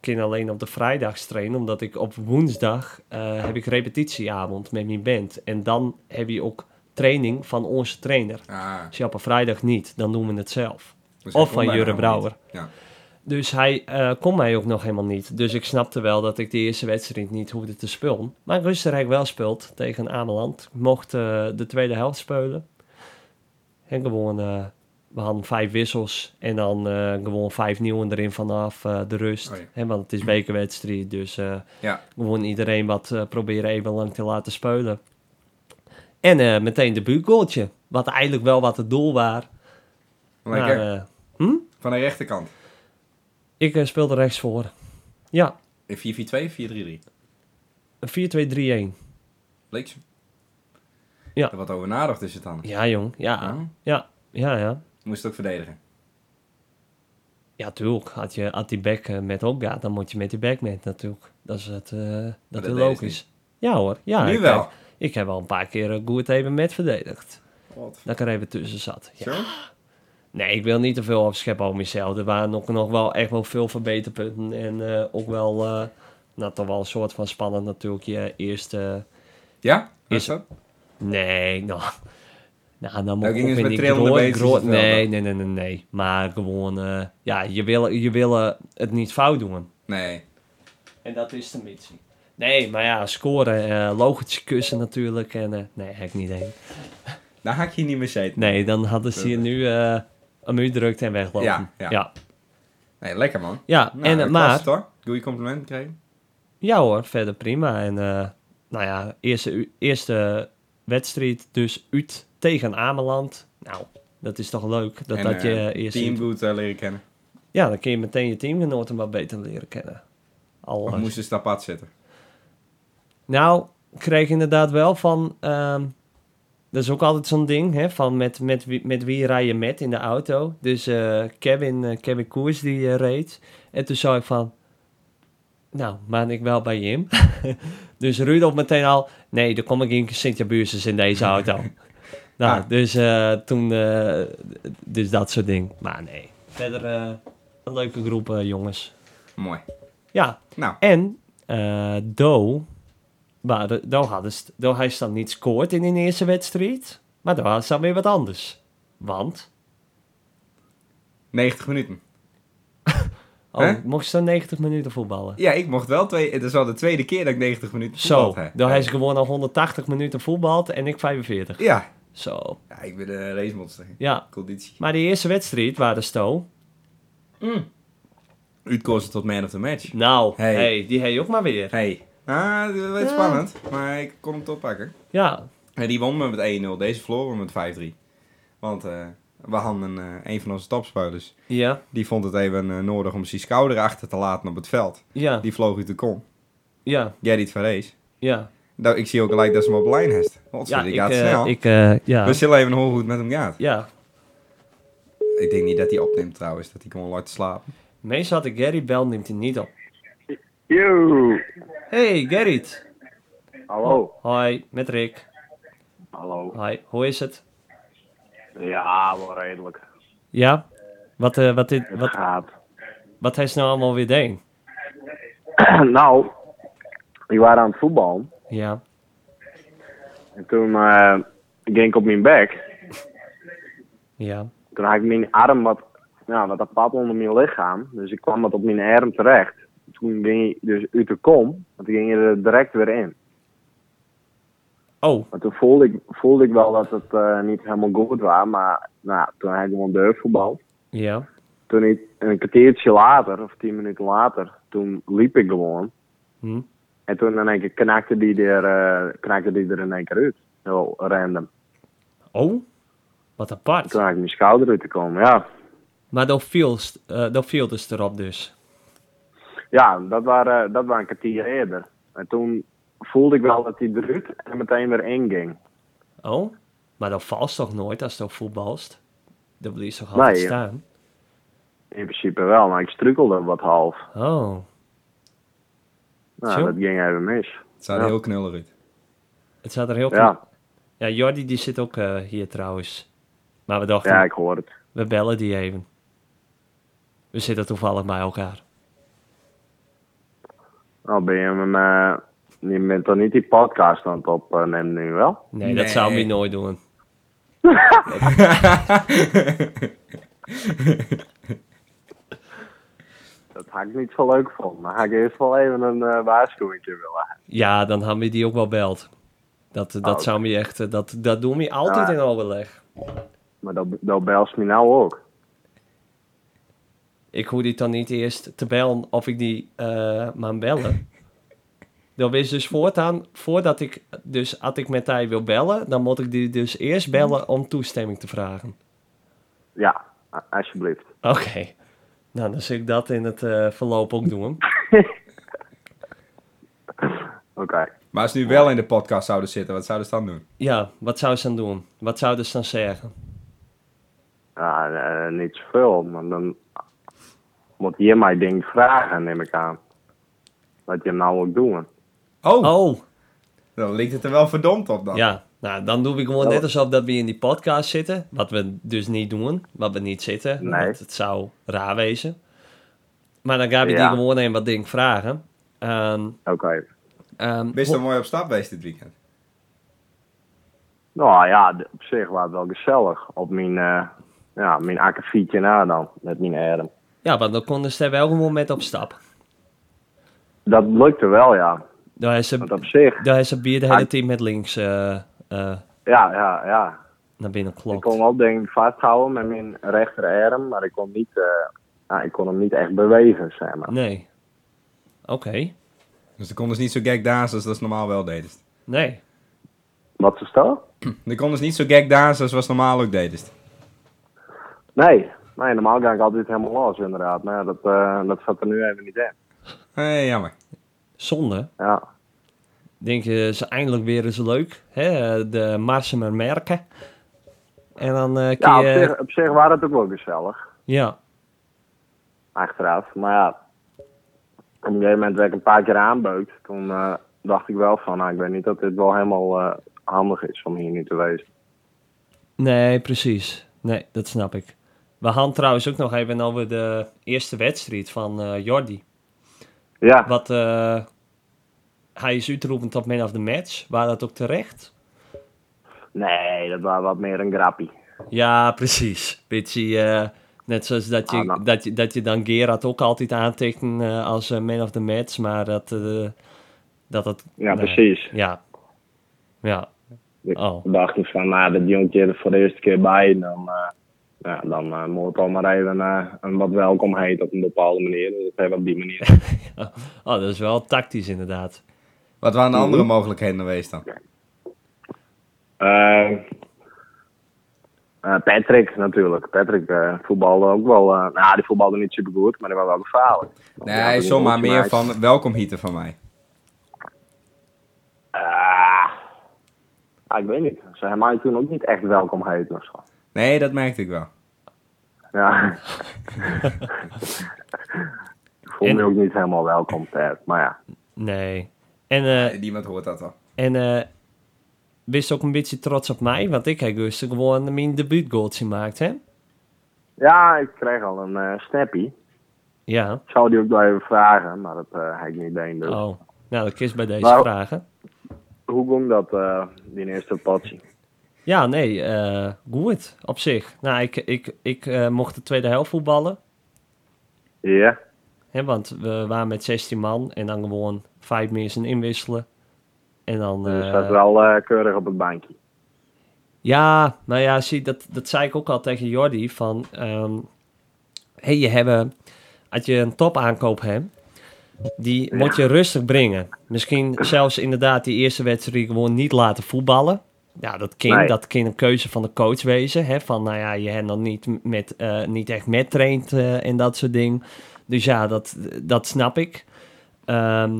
S3: kan alleen op de vrijdags trainen. Omdat ik op woensdag eh, heb ik repetitieavond met mijn band. En dan heb je ook training van onze trainer.
S2: Ah,
S3: Als je op een vrijdag niet, dan doen we het zelf.
S2: dus hij
S3: Of
S2: kon
S3: van
S2: bijna
S3: Jurre
S2: helemaal
S3: Brouwer.
S2: niet. Ja.
S3: Dus hij eh, kon mij ook nog helemaal niet. Dus ik snapte wel dat ik de eerste wedstrijd niet hoefde te spelen. Maar Rustenrijk wel speelt tegen Ameland. Ik mocht eh, de tweede helft spelen. En gewoon, eh, we hadden vijf wissels. En dan eh, gewoon vijf nieuwen erin vanaf eh, de rust.
S2: Oh ja.
S3: Hè, want het is bekerwedstrijd, dus... eh,
S2: Ja,
S3: gewoon iedereen wat eh, proberen even lang te laten spelen. En eh, meteen de buurtgoaltje. Wat eigenlijk wel wat het doel was.
S2: maar
S3: Maar,
S2: kijk,
S3: eh,
S2: van de rechterkant.
S3: ik eh, speelde rechts voor. Ja,
S2: In 4-4-2, 4-3-3.
S3: een 4-2-3-1.
S2: Leek ze.
S3: Ja.
S2: Er wat over nadacht is het dan.
S3: Ja, jong. Ja.
S2: Ja.
S3: Ja, ja, ja.
S2: Moest het ook verdedigen.
S3: Ja, tuurlijk. Had je had die back eh, met opgaat, dan moet je met die back met natuurlijk. Dat is het, eh, dat
S2: dat
S3: is
S2: deden ze
S3: logisch. Ja hoor, ja.
S2: Nu
S3: ik
S2: wel.
S3: Heb, ik heb al een paar keer eh, goed even met verdedigd. Dat ik er even tussen zat. Ja.
S2: Zo?
S3: Nee, ik wil niet te veel afscheppen over mezelf. Er waren ook nog wel echt wel veel verbeterpunten. En eh, ook wel, eh nou toch wel een soort van spannend natuurlijk. Je eerste,
S2: Ja? Is
S3: Is-
S2: dat?
S3: nee, nou... Nou, dan
S2: Nou,
S3: moet ik
S2: ging
S3: ook
S2: het
S3: weer
S2: met
S3: niet
S2: trillende
S3: groot-
S2: beentjes
S3: groot-
S2: het wel
S3: Nee,
S2: dan?
S3: nee, nee, nee, nee. Maar gewoon, eh, ja, je wil, je wil eh, het niet fout doen.
S2: Nee.
S3: En dat is de missie. Nee, maar ja, scoren, eh logotjes kussen natuurlijk. En, eh, nee, heb ik niet één.
S2: Daar haak je niet meer zitten.
S3: Nee, dan hadden ze hier nu eh een muur drukt en weglopen.
S2: Ja, ja.
S3: ja.
S2: Nee, lekker man.
S3: Ja,
S2: Nou,
S3: en, eh,
S2: dat was
S3: maar,
S2: het, hoor. Goeie complimenten krijgen.
S3: ja hoor, verder prima. En eh, nou ja, eerste, u- eerste wedstrijd dus uit tegen Ameland. Nou, dat is toch leuk. Dat,
S2: En,
S3: dat je
S2: eh,
S3: eh, eerst...
S2: Team goed eh, leren kennen.
S3: Ja, dan kun je meteen je teamgenoten wat beter leren kennen. Al,
S2: Of
S3: eh,
S2: moesten ze daar pad zitten?
S3: Nou, ik kreeg inderdaad wel van. ehm, dat is ook altijd zo'n ding, hè, van met, met, wie, met wie rij je met in de auto. Dus eh, Kevin, eh, Kevin Koers die eh, reed. En toen zei ik van. Nou, maar ik wel bij Jim. dus Rudolf meteen al. Nee, er kom ik in Sint-Jabuursus in deze auto. nou,
S2: Ah.
S3: dus eh, toen. eh, d- dus dat soort ding. Maar nee. Verder eh, een leuke groep eh, jongens.
S2: Mooi.
S3: Ja,
S2: Nou,
S3: en eh Do, maar de- Do hadden ze- Do hij dan niet scoort in de eerste wedstrijd, maar Do had dan weer wat anders. Want,
S2: 90 minuten.
S3: oh,
S2: Hè?
S3: mocht ze dan 90 minuten voetballen?
S2: Ja, ik mocht wel twee... Het is al de tweede keer dat ik 90 minuten
S3: Zo,
S2: voetbald heb.
S3: Do hij is gewoon al 180 minuten voetbald en ik 45.
S2: Ja.
S3: Zo,
S2: Ja, ik ben een racemonster.
S3: ja.
S2: Conditie.
S3: Maar die eerste wedstrijd waren Sto.
S2: U kozen tot man of the match.
S3: Nou,
S2: Hey.
S3: hey. die hij ook maar weer.
S2: Hey. Ah, dat werd
S3: Ja.
S2: spannend. Maar ik kon hem toch pakken.
S3: Ja,
S2: En die won me met 1-0. Deze verloren we met 5-3. Want eh, we hadden een, eh, een van onze topspelers.
S3: ja,
S2: Die vond het even eh, nodig om zijn schouder achter te laten op het veld.
S3: ja,
S2: Die vloog uit de kom.
S3: ja,
S2: Jij niet van race.
S3: ja.
S2: Nou, ik zie ook gelijk dat ze hem op lijn heeft. Wat
S3: Ja,
S2: die gaat
S3: eh,
S2: snel.
S3: ik, eh, ja,
S2: We zullen even horen hoe het met hem gaat.
S3: ja.
S2: Ik denk niet dat hij opneemt trouwens. Dat hij gewoon laat slapen.
S3: Meestal had ik Gerry bel, neemt hij niet op.
S5: Yo,
S3: Hey, Gerrit.
S5: hallo.
S3: Hoi, met Rick.
S5: Hallo.
S3: Hoi, hoe is het?
S5: Ja, wel redelijk.
S3: Ja? Wat, eh, wat, dit,
S5: Het
S3: wat,
S5: gaat.
S3: wat hij nou allemaal weer deed?
S5: nou, die waren aan het voetballen.
S3: Ja.
S5: En toen eh, ging ik op mijn bek.
S3: Ja.
S5: Toen had ik mijn arm wat, ja, wat apart onder mijn lichaam. Dus ik kwam wat op mijn arm terecht. Toen ging je dus uit de kom. Want toen ging je er direct weer in.
S3: Oh,
S5: Maar toen voelde ik, voelde ik wel dat het eh, niet helemaal goed was. Maar nou, toen heb ik gewoon deur voetbal.
S3: ja.
S5: Toen ik, een kwartiertje later, of tien minuten later, toen liep ik gewoon.
S3: Hm.
S5: En toen in één keer knakte die er, eh, knakte die er in één keer uit. Heel random.
S3: Oh? Wat
S5: Toen
S3: apart.
S5: had ik mijn schouder uit te komen, ja.
S3: Maar dat viel, st- eh, dat viel dus erop dus.
S5: Ja, dat waren, eh, dat waren een kwartier eerder. En toen voelde ik wel dat die eruit en meteen weer inging.
S3: Oh? Maar dat valt toch nooit als dat voetbalst? Dat blijft toch altijd
S5: Nee, ja.
S3: staan?
S5: In principe wel, maar ik struikelde wat half.
S3: Oh.
S5: Nou,
S3: Zo.
S5: dat ging even mis.
S2: Het zou
S5: Ja.
S2: heel knullig uit.
S3: Het staat er heel
S5: Ja,
S3: ja, Jordi die zit ook eh, hier trouwens. Maar we dachten,
S5: ja, ik hoor het.
S3: we bellen die even. We zitten toevallig bij elkaar.
S5: Nou, ben je hem, eh, je bent toch niet die podcast aan het opnemen nu wel?
S3: Nee, dat zou
S2: Nee.
S3: hij nooit doen.
S5: Dat had ik niet zo leuk vond. Maar had ik eerst wel even een eh waarschuwing willen.
S3: Ja, dan hebben we die ook wel belt. Dat, dat
S5: Oh, oké.
S3: zou me echt, eh, dat, dat doen we altijd
S5: Ja.
S3: in overleg.
S5: Maar dat, dat belst me nou ook.
S3: Ik hoef die dan niet eerst te bellen of ik die eh maar bellen. Dat is dus voortaan, voordat ik, dus als ik met hij wil bellen, dan moet ik die dus
S5: Mhm.
S3: eerst bellen om toestemming te vragen.
S5: Ja, a- alsjeblieft.
S3: Oké, nou dan zul ik dat in het eh, verloop ook doen.
S5: Oké.
S2: Maar als ze nu wel in de podcast zouden zitten, wat zouden ze dan doen?
S3: Ja, wat zou ze dan doen? Wat zou ze dan zeggen?
S5: Ja, eh, niet zoveel, maar dan moet je mij ding vragen, neem ik aan. Wat je hem nou ook doen.
S2: Oh,
S3: Oh,
S2: Dan lijkt het er wel verdomd op dan.
S3: Ja, nou, dan doe ik gewoon
S5: Oh. Nou.
S3: net alsof dat we in die podcast zitten. Wat we dus niet doen, wat we niet zitten.
S5: Nee.
S3: Want het zou raar wezen. Maar dan ga ik
S5: Ja.
S3: die gewoon een wat ding vragen. Ehm
S5: Oké.
S3: ehm,
S2: Ben je
S3: ho-
S2: dan mooi op stap geweest dit weekend?
S5: Nou ja, d- op zich was het wel gezellig. Op mijn, eh ja, mijn akkefietje na dan, met mijn Adam.
S3: ja, want dan konden ze er wel gewoon met op stap.
S5: Dat lukte wel, ja.
S3: Daar is ze,
S5: Want op zich,
S3: daar is ze bier de hele
S5: Ah.
S3: team met links eh, eh,
S5: ja, ja, ja.
S3: naar binnen
S5: Ik
S3: klopt.
S5: kon wel denk ik vasthouden met mijn rechterarm, maar ik kon, niet, eh, nou, ik kon hem niet echt bewegen, zeg maar.
S3: Nee. Oké.
S2: Dus dan konden ze niet zo gek daas als dat ze normaal wel deden.
S3: Nee.
S5: Wat is dat?
S2: Dan konden ze niet zo gek daas als wat ze normaal ook deden.
S5: Nee, nee, normaal ga ik altijd helemaal los inderdaad. Maar ja, dat, eh, dat zat er nu even niet in.
S2: Hé, jammer.
S3: Zonde.
S5: Ja,
S3: Denk je, ze eindelijk weer eens leuk. Hè? De Marsen maar merken. En dan eh kun
S5: ja op,
S3: je...
S5: zich, op zich waren het ook wel gezellig,
S3: Ja,
S5: achteraf. Maar ja, op een gegeven moment werd ik een paar keer aanbeukt. Toen eh, dacht ik wel van, nou, ik weet niet dat dit wel helemaal eh, handig is om hier nu te wezen.
S3: nee, precies. Nee, dat snap ik. We gaan trouwens ook nog even over de eerste wedstrijd van eh, Jordi.
S5: Ja,
S3: Wat eh, hij is uitroepend tot man of the match. Waar dat ook terecht?
S5: nee, dat was wat meer een grappie.
S3: Ja, precies. Beetje eh, net zoals dat je,
S5: Ah, nou.
S3: dat, je, dat je dan Gerard ook altijd aantekent eh, als eh, man of the match. Maar dat eh, dat, dat...
S5: Ja,
S3: nee.
S5: precies.
S3: Ja. Ja. Oh.
S5: Toen dacht ik van, nou, dat jongetje er voor de eerste keer bij. Dan, eh, ja, dan eh, moet het al maar even eh, een wat welkom heet op een bepaalde manier. Dus dat heeft op die manier.
S3: Oh, dat is wel tactisch inderdaad.
S2: Wat waren
S5: Mhm.
S2: de andere mogelijkheden geweest dan?
S5: Eh, eh, Patrick natuurlijk. Patrick eh, voetbalde ook wel. eh, nou, die voetbalde niet super goed, maar die was wel gevaarlijk. Die
S2: Nee,
S5: had
S2: zomaar
S5: een goaltje
S2: meer
S5: gemaakt.
S2: van welkom hieten van mij.
S5: Ah, ah, ik weet niet. Ze hebben mij toen ook niet echt welkom heet of zo.
S2: Nee, dat merkte ik wel.
S5: Ja. ik voel me
S3: En-
S5: ook niet helemaal welkom, Ted. Maar ja.
S3: Nee. En, eh,
S2: Niemand hoort dat al.
S3: en eh wist ook een beetje trots op mij, want ik heb dus gewoon mijn debuutgoal gemaakt, hè?
S5: Ja, ik kreeg al een eh, snappy.
S3: Ja.
S5: Ik zou die ook nog even vragen, maar dat eh heb ik niet deed. Dus.
S3: Oh. Nou, dat kies bij deze
S5: Nou.
S3: vragen.
S5: Hoe ging dat, eh, die eerste potje?
S3: Ja, nee, eh goed op zich. Nou, ik, ik, ik eh, mocht de tweede helft voetballen,
S5: Ja.
S3: hè, want we waren met 16 man en dan gewoon vijf mensen inwisselen. En dan...
S5: Dus
S3: eh,
S5: dat is wel eh, keurig op het bankje.
S3: Ja, nou ja, zie, dat, dat zei ik ook al tegen Jordi. Van, ehm hey, je eh, hebben, als je een topaankoop hebt, die moet je rustig brengen. Misschien zelfs inderdaad die eerste wedstrijd gewoon niet laten voetballen. Ja, dat kan,
S5: Nee.
S3: dat kan een keuze van de coach wezen. Hè? Van, nou ja, je hebt dan niet, met, eh, niet echt met traint eh, en dat soort dingen. Dus ja, dat, dat snap ik. Ehm,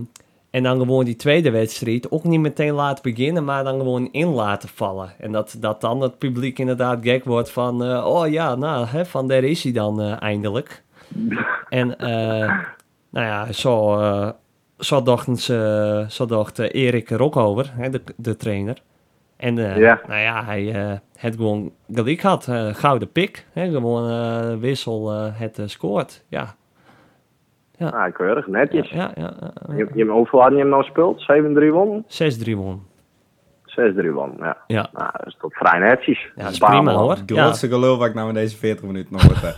S3: en dan gewoon die tweede wedstrijd ook niet meteen laten beginnen, maar dan gewoon in laten vallen. En dat, dat dan het publiek inderdaad gek wordt van, eh, oh ja, nou, hè, van daar is hij dan eh, eindelijk. en eh, nou ja, zo, eh, zo, dachten ze, zo dacht eh, Erik er ook over, hè, de, de trainer. En eh,
S5: Ja.
S3: nou ja, hij het had gewoon gelijk had, eh, gouden pik, hè, gewoon eh, wissel eh, het eh, scoort. Ja,
S5: Ah, keurig, netjes.
S3: ja, ja. ja, ja.
S5: Je, je, hoeveel had je hem nou gespeeld? 7-3 won?
S3: 6-3 won.
S5: 6-3 won, ja.
S3: Ja.
S5: Nou, dat is toch vrij netjes.
S3: Ja, dat is
S5: Een paar
S3: prima
S5: man.
S3: hoor.
S2: Het
S3: Ja.
S2: grootste gelul wat ik nou in deze 40 minuten nog hoort heb.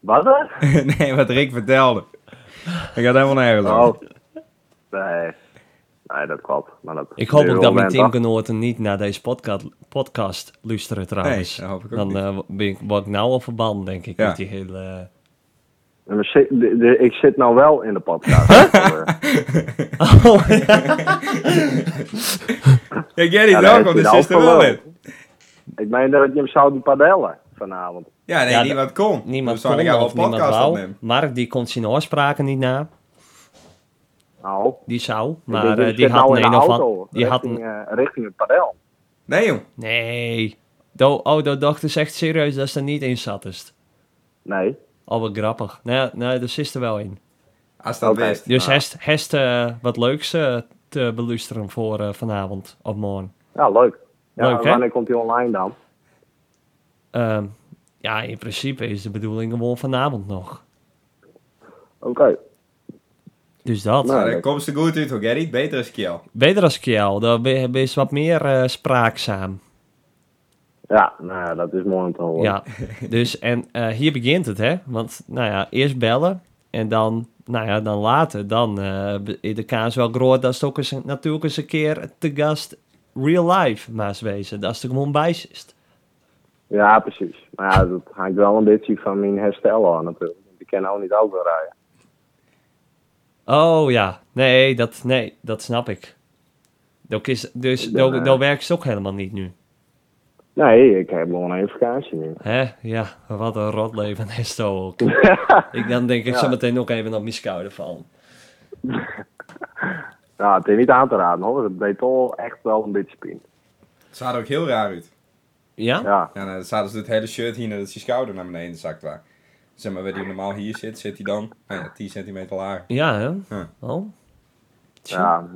S5: Wat? hè?
S2: nee, wat Rick vertelde. Ik had helemaal nergens
S5: Oh.
S2: over.
S5: Nee. Nee, dat klopt. Maar dat
S3: Ik hoop ook dat mijn
S5: moment af-
S3: teamgenoten niet naar deze podcast, podcast luisteren trouwens.
S2: Nee, dat hoop ik ook
S3: Dan
S2: niet.
S3: eh, ben ik, word ik nou al verband, denk ik,
S2: Ja.
S3: met die hele...
S5: En we zit- de- de- Ik zit nou wel in de podcast.
S2: Oh Ja, Gerry,
S5: Ja, daar
S2: welkom. Dit
S5: heeft hij de
S2: is er wel
S5: alcohol.
S2: in.
S5: ik meen dat je hem zou padellen vanavond.
S2: Ja, nee,
S3: Ja,
S2: niemand kon.
S3: Niemand
S2: Dus we zouden
S3: kon
S2: jou
S3: of niemand
S2: podcast
S3: wou.
S2: opnemen.
S3: Mark, die komt zijn oorspraken niet na.
S5: Nou,
S3: Die zou,
S5: ik
S3: maar
S5: denk,
S3: eh,
S5: ik
S3: die
S5: zit
S3: had
S5: nou in
S3: een
S5: de
S3: of
S5: auto
S3: an- Die had
S5: richting,
S3: een...
S5: eh, richting het padel.
S2: Nee, joh.
S3: Nee. Do, oh, dat dacht dus echt serieus dat ze er niet in zat. is.
S5: Nee.
S3: Oh, wat grappig. Nee, nee, er zit er wel in.
S2: Als dat
S5: Oké.
S2: wist.
S3: Dus
S2: Nou,
S3: hest, hest eh, wat leuks eh, te belusteren voor eh, vanavond of morgen.
S5: Ja, leuk. Ja,
S3: Leuk, hè?
S5: wanneer komt die online dan?
S3: Ehm, ja, in principe is de bedoeling gewoon vanavond nog.
S5: Oké.
S3: Dus dat.
S5: Nou,
S2: Nou, dat komt ze goed uit hoor, Gerrit. Beter is Kiel.
S3: Beter als Kjell, daar ben ben je wat meer eh, spraakzaam.
S5: Ja, nou ja, dat is mooi om te horen.
S3: Ja, dus en eh, hier begint het, hè? Want, nou ja, eerst bellen en dan, nou ja, dan later. Dan eh, be- is de kaas wel groot dat ze ook eens, natuurlijk eens een keer te gast real life maas wezen. Dat is de gewoon bij zit.
S5: Ja, precies. Maar ja, dat hangt wel een beetje van mijn herstel aan natuurlijk. Want Ik kan ook niet auto rijden.
S3: Oh ja, nee, dat, nee, dat snap ik. Dat is, dus
S5: Ik ben,
S3: dat
S5: eh,
S3: dat werkt ze ook helemaal niet nu.
S5: Nee, ik heb gewoon een vakantie nu.
S3: Hè? Ja, wat een rot leven is dat ook. ik dan denk ik zo meteen ook even op mijn schouder van.
S5: Ja, het is niet aan te raden hoor. Het deed toch echt wel een beetje pijn.
S2: Het zag er ook heel raar uit.
S3: Ja?
S5: Ja,
S2: Ja, nou, dan zaten ze het hele shirt hier nadat zijn schouder naar beneden zakt waar. Zeg maar, waar die normaal hier zit, zit hij dan nou ja, 10 centimeter lager.
S3: Ja, hè?
S2: Ja.
S3: Oh.
S5: ja.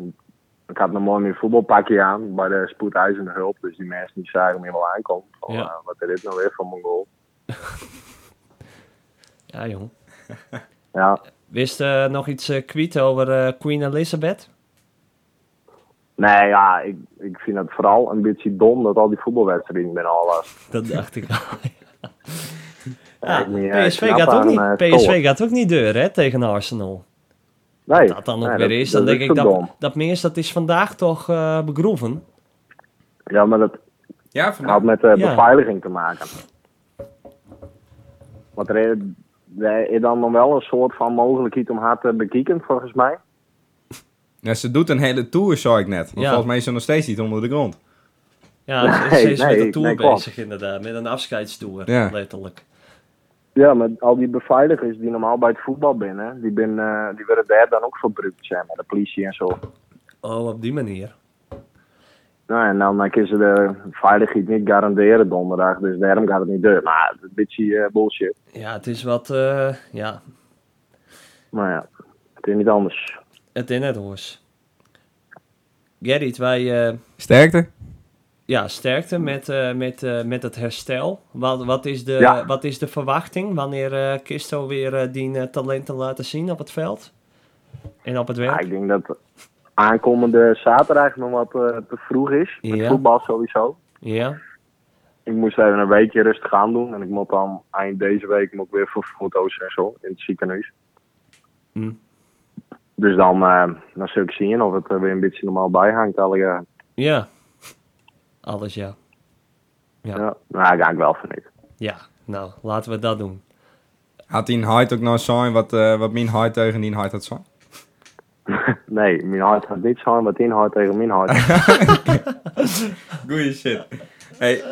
S5: Ik had nog mooi mijn voetbalpakje aan bij de spoedeisende hulp. Dus die mensen die zagen me wel aankomen. Van,
S3: Ja.
S5: eh, wat is dit nou weer voor mijn goal?
S3: Ja, jong.
S5: Ja.
S3: Wist eh nog iets eh kwiet over eh, Queen Elizabeth?
S5: Nee, ja, ik, ik vind het vooral een beetje dom dat al die voetbalwedstrijden ben al was.
S3: Dat dacht ik al. Ah, ja,
S5: ik niet, eh,
S3: PSV,
S5: knap
S3: gaat ook
S5: aan,
S3: niet,
S5: eh,
S3: PSV
S5: scoren.
S3: gaat ook niet deur hè, tegen Arsenal.
S5: Nee,
S3: Dat dan ook
S5: nee,
S3: weer is, dan denk ik
S5: te
S3: dat,
S5: dom.
S3: dat minst dat is vandaag toch eh, begroeven.
S5: Ja, maar dat,
S2: Ja,
S5: Het had
S2: vandaag.
S5: met de
S3: Ja.
S5: beveiliging te maken. Want er is, er is dan nog wel een soort van mogelijkheid om haar te bekijken, volgens mij.
S2: Ja, ze doet een hele tour, zag ik net. Maar
S3: Ja.
S2: volgens mij is ze nog steeds niet onder de grond.
S3: Ja, ze-
S5: Nee,
S3: ze is met
S5: nee,
S3: een tour
S5: nee, klopt.
S3: bezig inderdaad, met een afscheidstour
S2: Ja.
S3: letterlijk.
S5: Ja, maar al die beveiligers die normaal bij het voetbal binnen, die, ben, eh, die werden daar dan ook verbruikt, zeg maar, de politie en zo.
S3: Oh, op die manier.
S5: Nou, en dan eh, kunnen ze de veiligheid niet garanderen donderdag, dus daarom gaat het niet door. Maar het is een beetje eh, bullshit.
S3: Ja, het is wat, eh, ja,
S5: Maar ja, het is niet anders.
S3: het in het hoors. Gerrit, wij... eh,
S2: Sterkte?
S3: Ja, sterkte met, eh, met, eh, met het herstel. Wat, wat, is de,
S5: Ja.
S3: wat is de verwachting wanneer eh Kisto weer eh, die eh, talenten laten zien op het veld? En op het
S5: Ja,
S3: werk?
S5: Ah, ik denk dat aankomende zaterdag nog wat eh, te vroeg is, met
S3: Ja.
S5: voetbal sowieso.
S3: Ja,
S5: ik moest even een weekje rustig aan doen. En ik moet dan eind deze week moet ik weer voor foto's en zo in het ziekenhuis.
S3: Hm.
S5: Dus dan, eh, dan zul ik zien of het er weer een beetje normaal bij hangt. Alle, ja.
S3: ja. Alles ja.
S5: Ja. Nou, daar ga ik wel van niet.
S3: Ja, nou, laten we dat doen.
S2: Had die een height ook nou zijn wat, eh, wat mijn height tegen die height had zijn?
S5: Nee, mijn hart gaat niet zijn wat in hart tegen mijn hart.
S2: Goeie shit. Hey,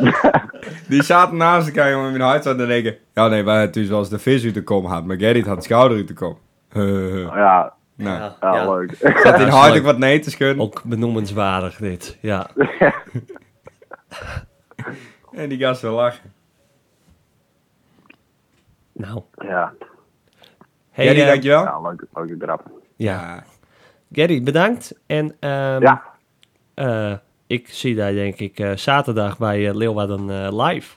S2: die zaten naast elkaar, jongen, mijn hart zat te denken. Ja, nee, wij hadden dus wel eens de vis uit de kom gehad, maar Gerrit had schouder uit de kom. Huh.
S5: ja,
S2: Nou,
S3: Ja,
S5: ja,
S3: ja.
S5: leuk.
S2: zat die
S3: is
S2: hart
S3: leuk.
S2: ook wat nee te schudden.
S3: Ook benoemenswaardig dit, ja.
S2: En die gast wil lachen.
S3: Nou,
S5: ja.
S3: hey,
S2: Gerrit,
S3: eh,
S2: dankjewel.
S5: ja, leuke, leuke grap.
S3: ja.
S2: Ja.
S3: Gerrit, bedankt. En ehm,
S5: Ja,
S3: eh, ik zie daar denk ik eh, zaterdag bij eh, Leeuwarden eh, live.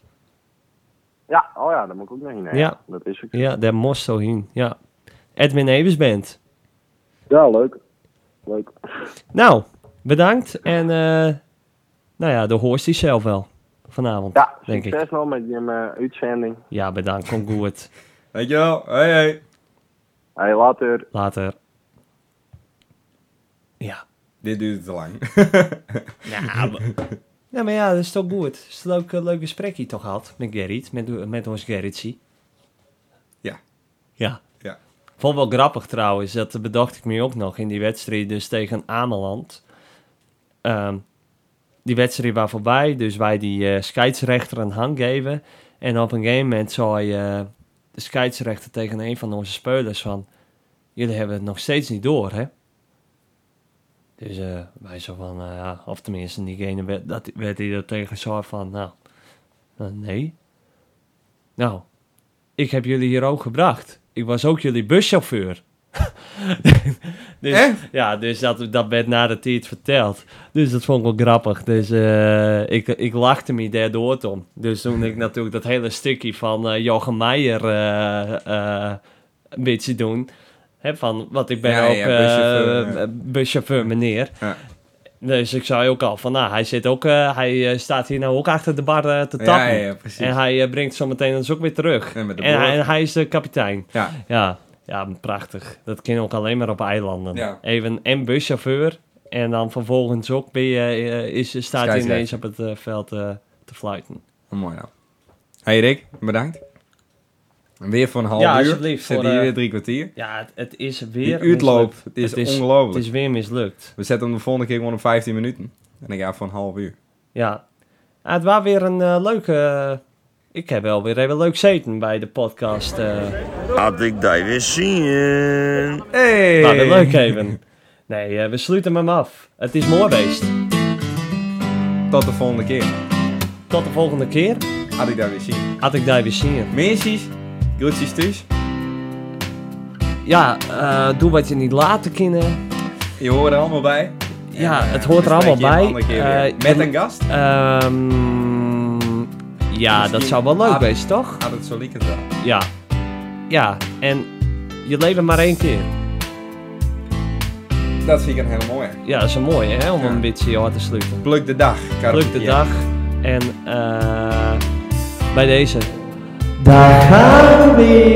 S5: ja, oh ja, dat moet ik ook nog in. hè.
S3: Ja.
S5: Dat is ook.
S3: Ja, daar moest zo heen, ja. Edwin Evers Band.
S5: Ja, leuk. Leuk.
S3: Nou, bedankt. En eh, nou ja, de hoort hij zelf wel vanavond,
S5: Ja,
S3: denk ik.
S5: succes nog met je eh, uitzending.
S3: Ja, bedankt. Kom goed.
S2: Dankjewel. Hoi, hoi.
S5: Hey, later.
S3: Later. Ja.
S2: Dit duurde te lang.
S3: Nou, ja, maar ja, dat is toch goed. Het is een leuk, eh, leuk gesprekje toch gehad met Gerrit, met, met ons Gerritsie.
S2: Ja.
S3: Ja.
S2: Ja.
S3: Vond wel grappig trouwens, dat bedacht ik me ook nog in die wedstrijd, dus tegen Ameland. Ehm, die wedstrijd was voorbij, dus wij die eh, scheidsrechter een hang geven. En op een gegeven moment zei eh, de scheidsrechter tegen een van onze spelers van... Jullie hebben het nog steeds niet door, hè? Dus eh, wij zo van, eh, ja, of tenminste, diegene werd, dat, werd die er tegen zo van, nou, eh, nee. Nou, ik heb jullie hier ook gebracht. Ik was ook jullie buschauffeur. dus,
S2: Echt?
S3: Ja, dus dat, dat werd nadat hij het verteld. Dus dat vond ik wel grappig. Dus eh, ik, ik lachte me daardoor om. Dus toen ik natuurlijk dat hele stukje van eh Jochem Meijer eh, eh, een beetje doen. Hè, van, want ik ben
S2: Ja,
S3: ook
S2: ja,
S3: eh,
S2: buschauffeur, ja.
S3: buschauffeur meneer.
S2: Ja.
S3: Dus ik zei ook al van, nou, hij, zit ook, eh, hij eh, staat hier nou ook achter de bar eh, te tappen.
S2: Ja, ja, precies.
S3: En hij eh, brengt zometeen ons ook weer terug.
S2: En met de
S3: en,
S2: boord.
S3: hij, en hij is de kapitein.
S2: Ja.
S3: Ja, ja prachtig. Dat ken je ook alleen maar op eilanden.
S2: Ja.
S3: Even en buschauffeur. En dan vervolgens ook ben je, eh, is, staat hij
S2: Scheidsrechter.
S3: ineens op het eh, veld eh, te fluiten.
S2: Mooi nou. Hey Rick, bedankt. Weer voor een half
S3: Ja,
S2: uur.
S3: alsjeblieft,
S2: Zitten
S3: voor,
S2: hier
S3: eh,
S2: weer drie kwartier.
S3: Ja, het, het is
S2: Die
S3: weer...
S2: uitloop,
S3: mislukt.
S2: het is,
S3: het is
S2: ongelooflijk.
S3: Het is weer mislukt.
S2: We zetten hem de volgende keer gewoon op 15 minuten. En dan gaan we voor een half uur.
S3: Ja. Ah, het was weer een eh, leuke... ik heb wel weer even leuk zeten bij de podcast. eh.
S4: Had ik daar weer zin in.
S2: Hey!
S3: Nou, dat leuk even. Nee, eh, we sluiten hem af. Het is mooi geweest.
S2: Tot de volgende keer.
S3: Tot de volgende keer.
S2: Had ik daar weer zien.
S3: Had ik daar weer zin in.
S2: Meisjes, groetjes thuis.
S3: Ja, eh, doe wat je niet laten kunnen.
S2: Je hoort er allemaal bij.
S3: Ja,
S2: En, eh,
S3: het hoort er
S2: we
S3: allemaal
S2: spreken je een
S3: bij.
S2: andere keer weer.
S3: Eh,
S2: Met
S3: en-
S2: een gast.
S3: Ehm, ja, dat zou wel leuk
S2: Misschien-
S3: zijn, toch?
S2: Had het Ah, zo lekker wel.
S3: Ah. Ja. Ja, en je leven maar één keer.
S2: Dat vind ik een hele mooie.
S3: Ja, dat is een mooie, hè, om
S2: Ja.
S3: een beetje je hart te sluiten.
S2: Pluk de dag. Karel.
S3: Druk de
S2: Ja.
S3: dag. En eh, bij deze.
S1: Daar gaan we weer.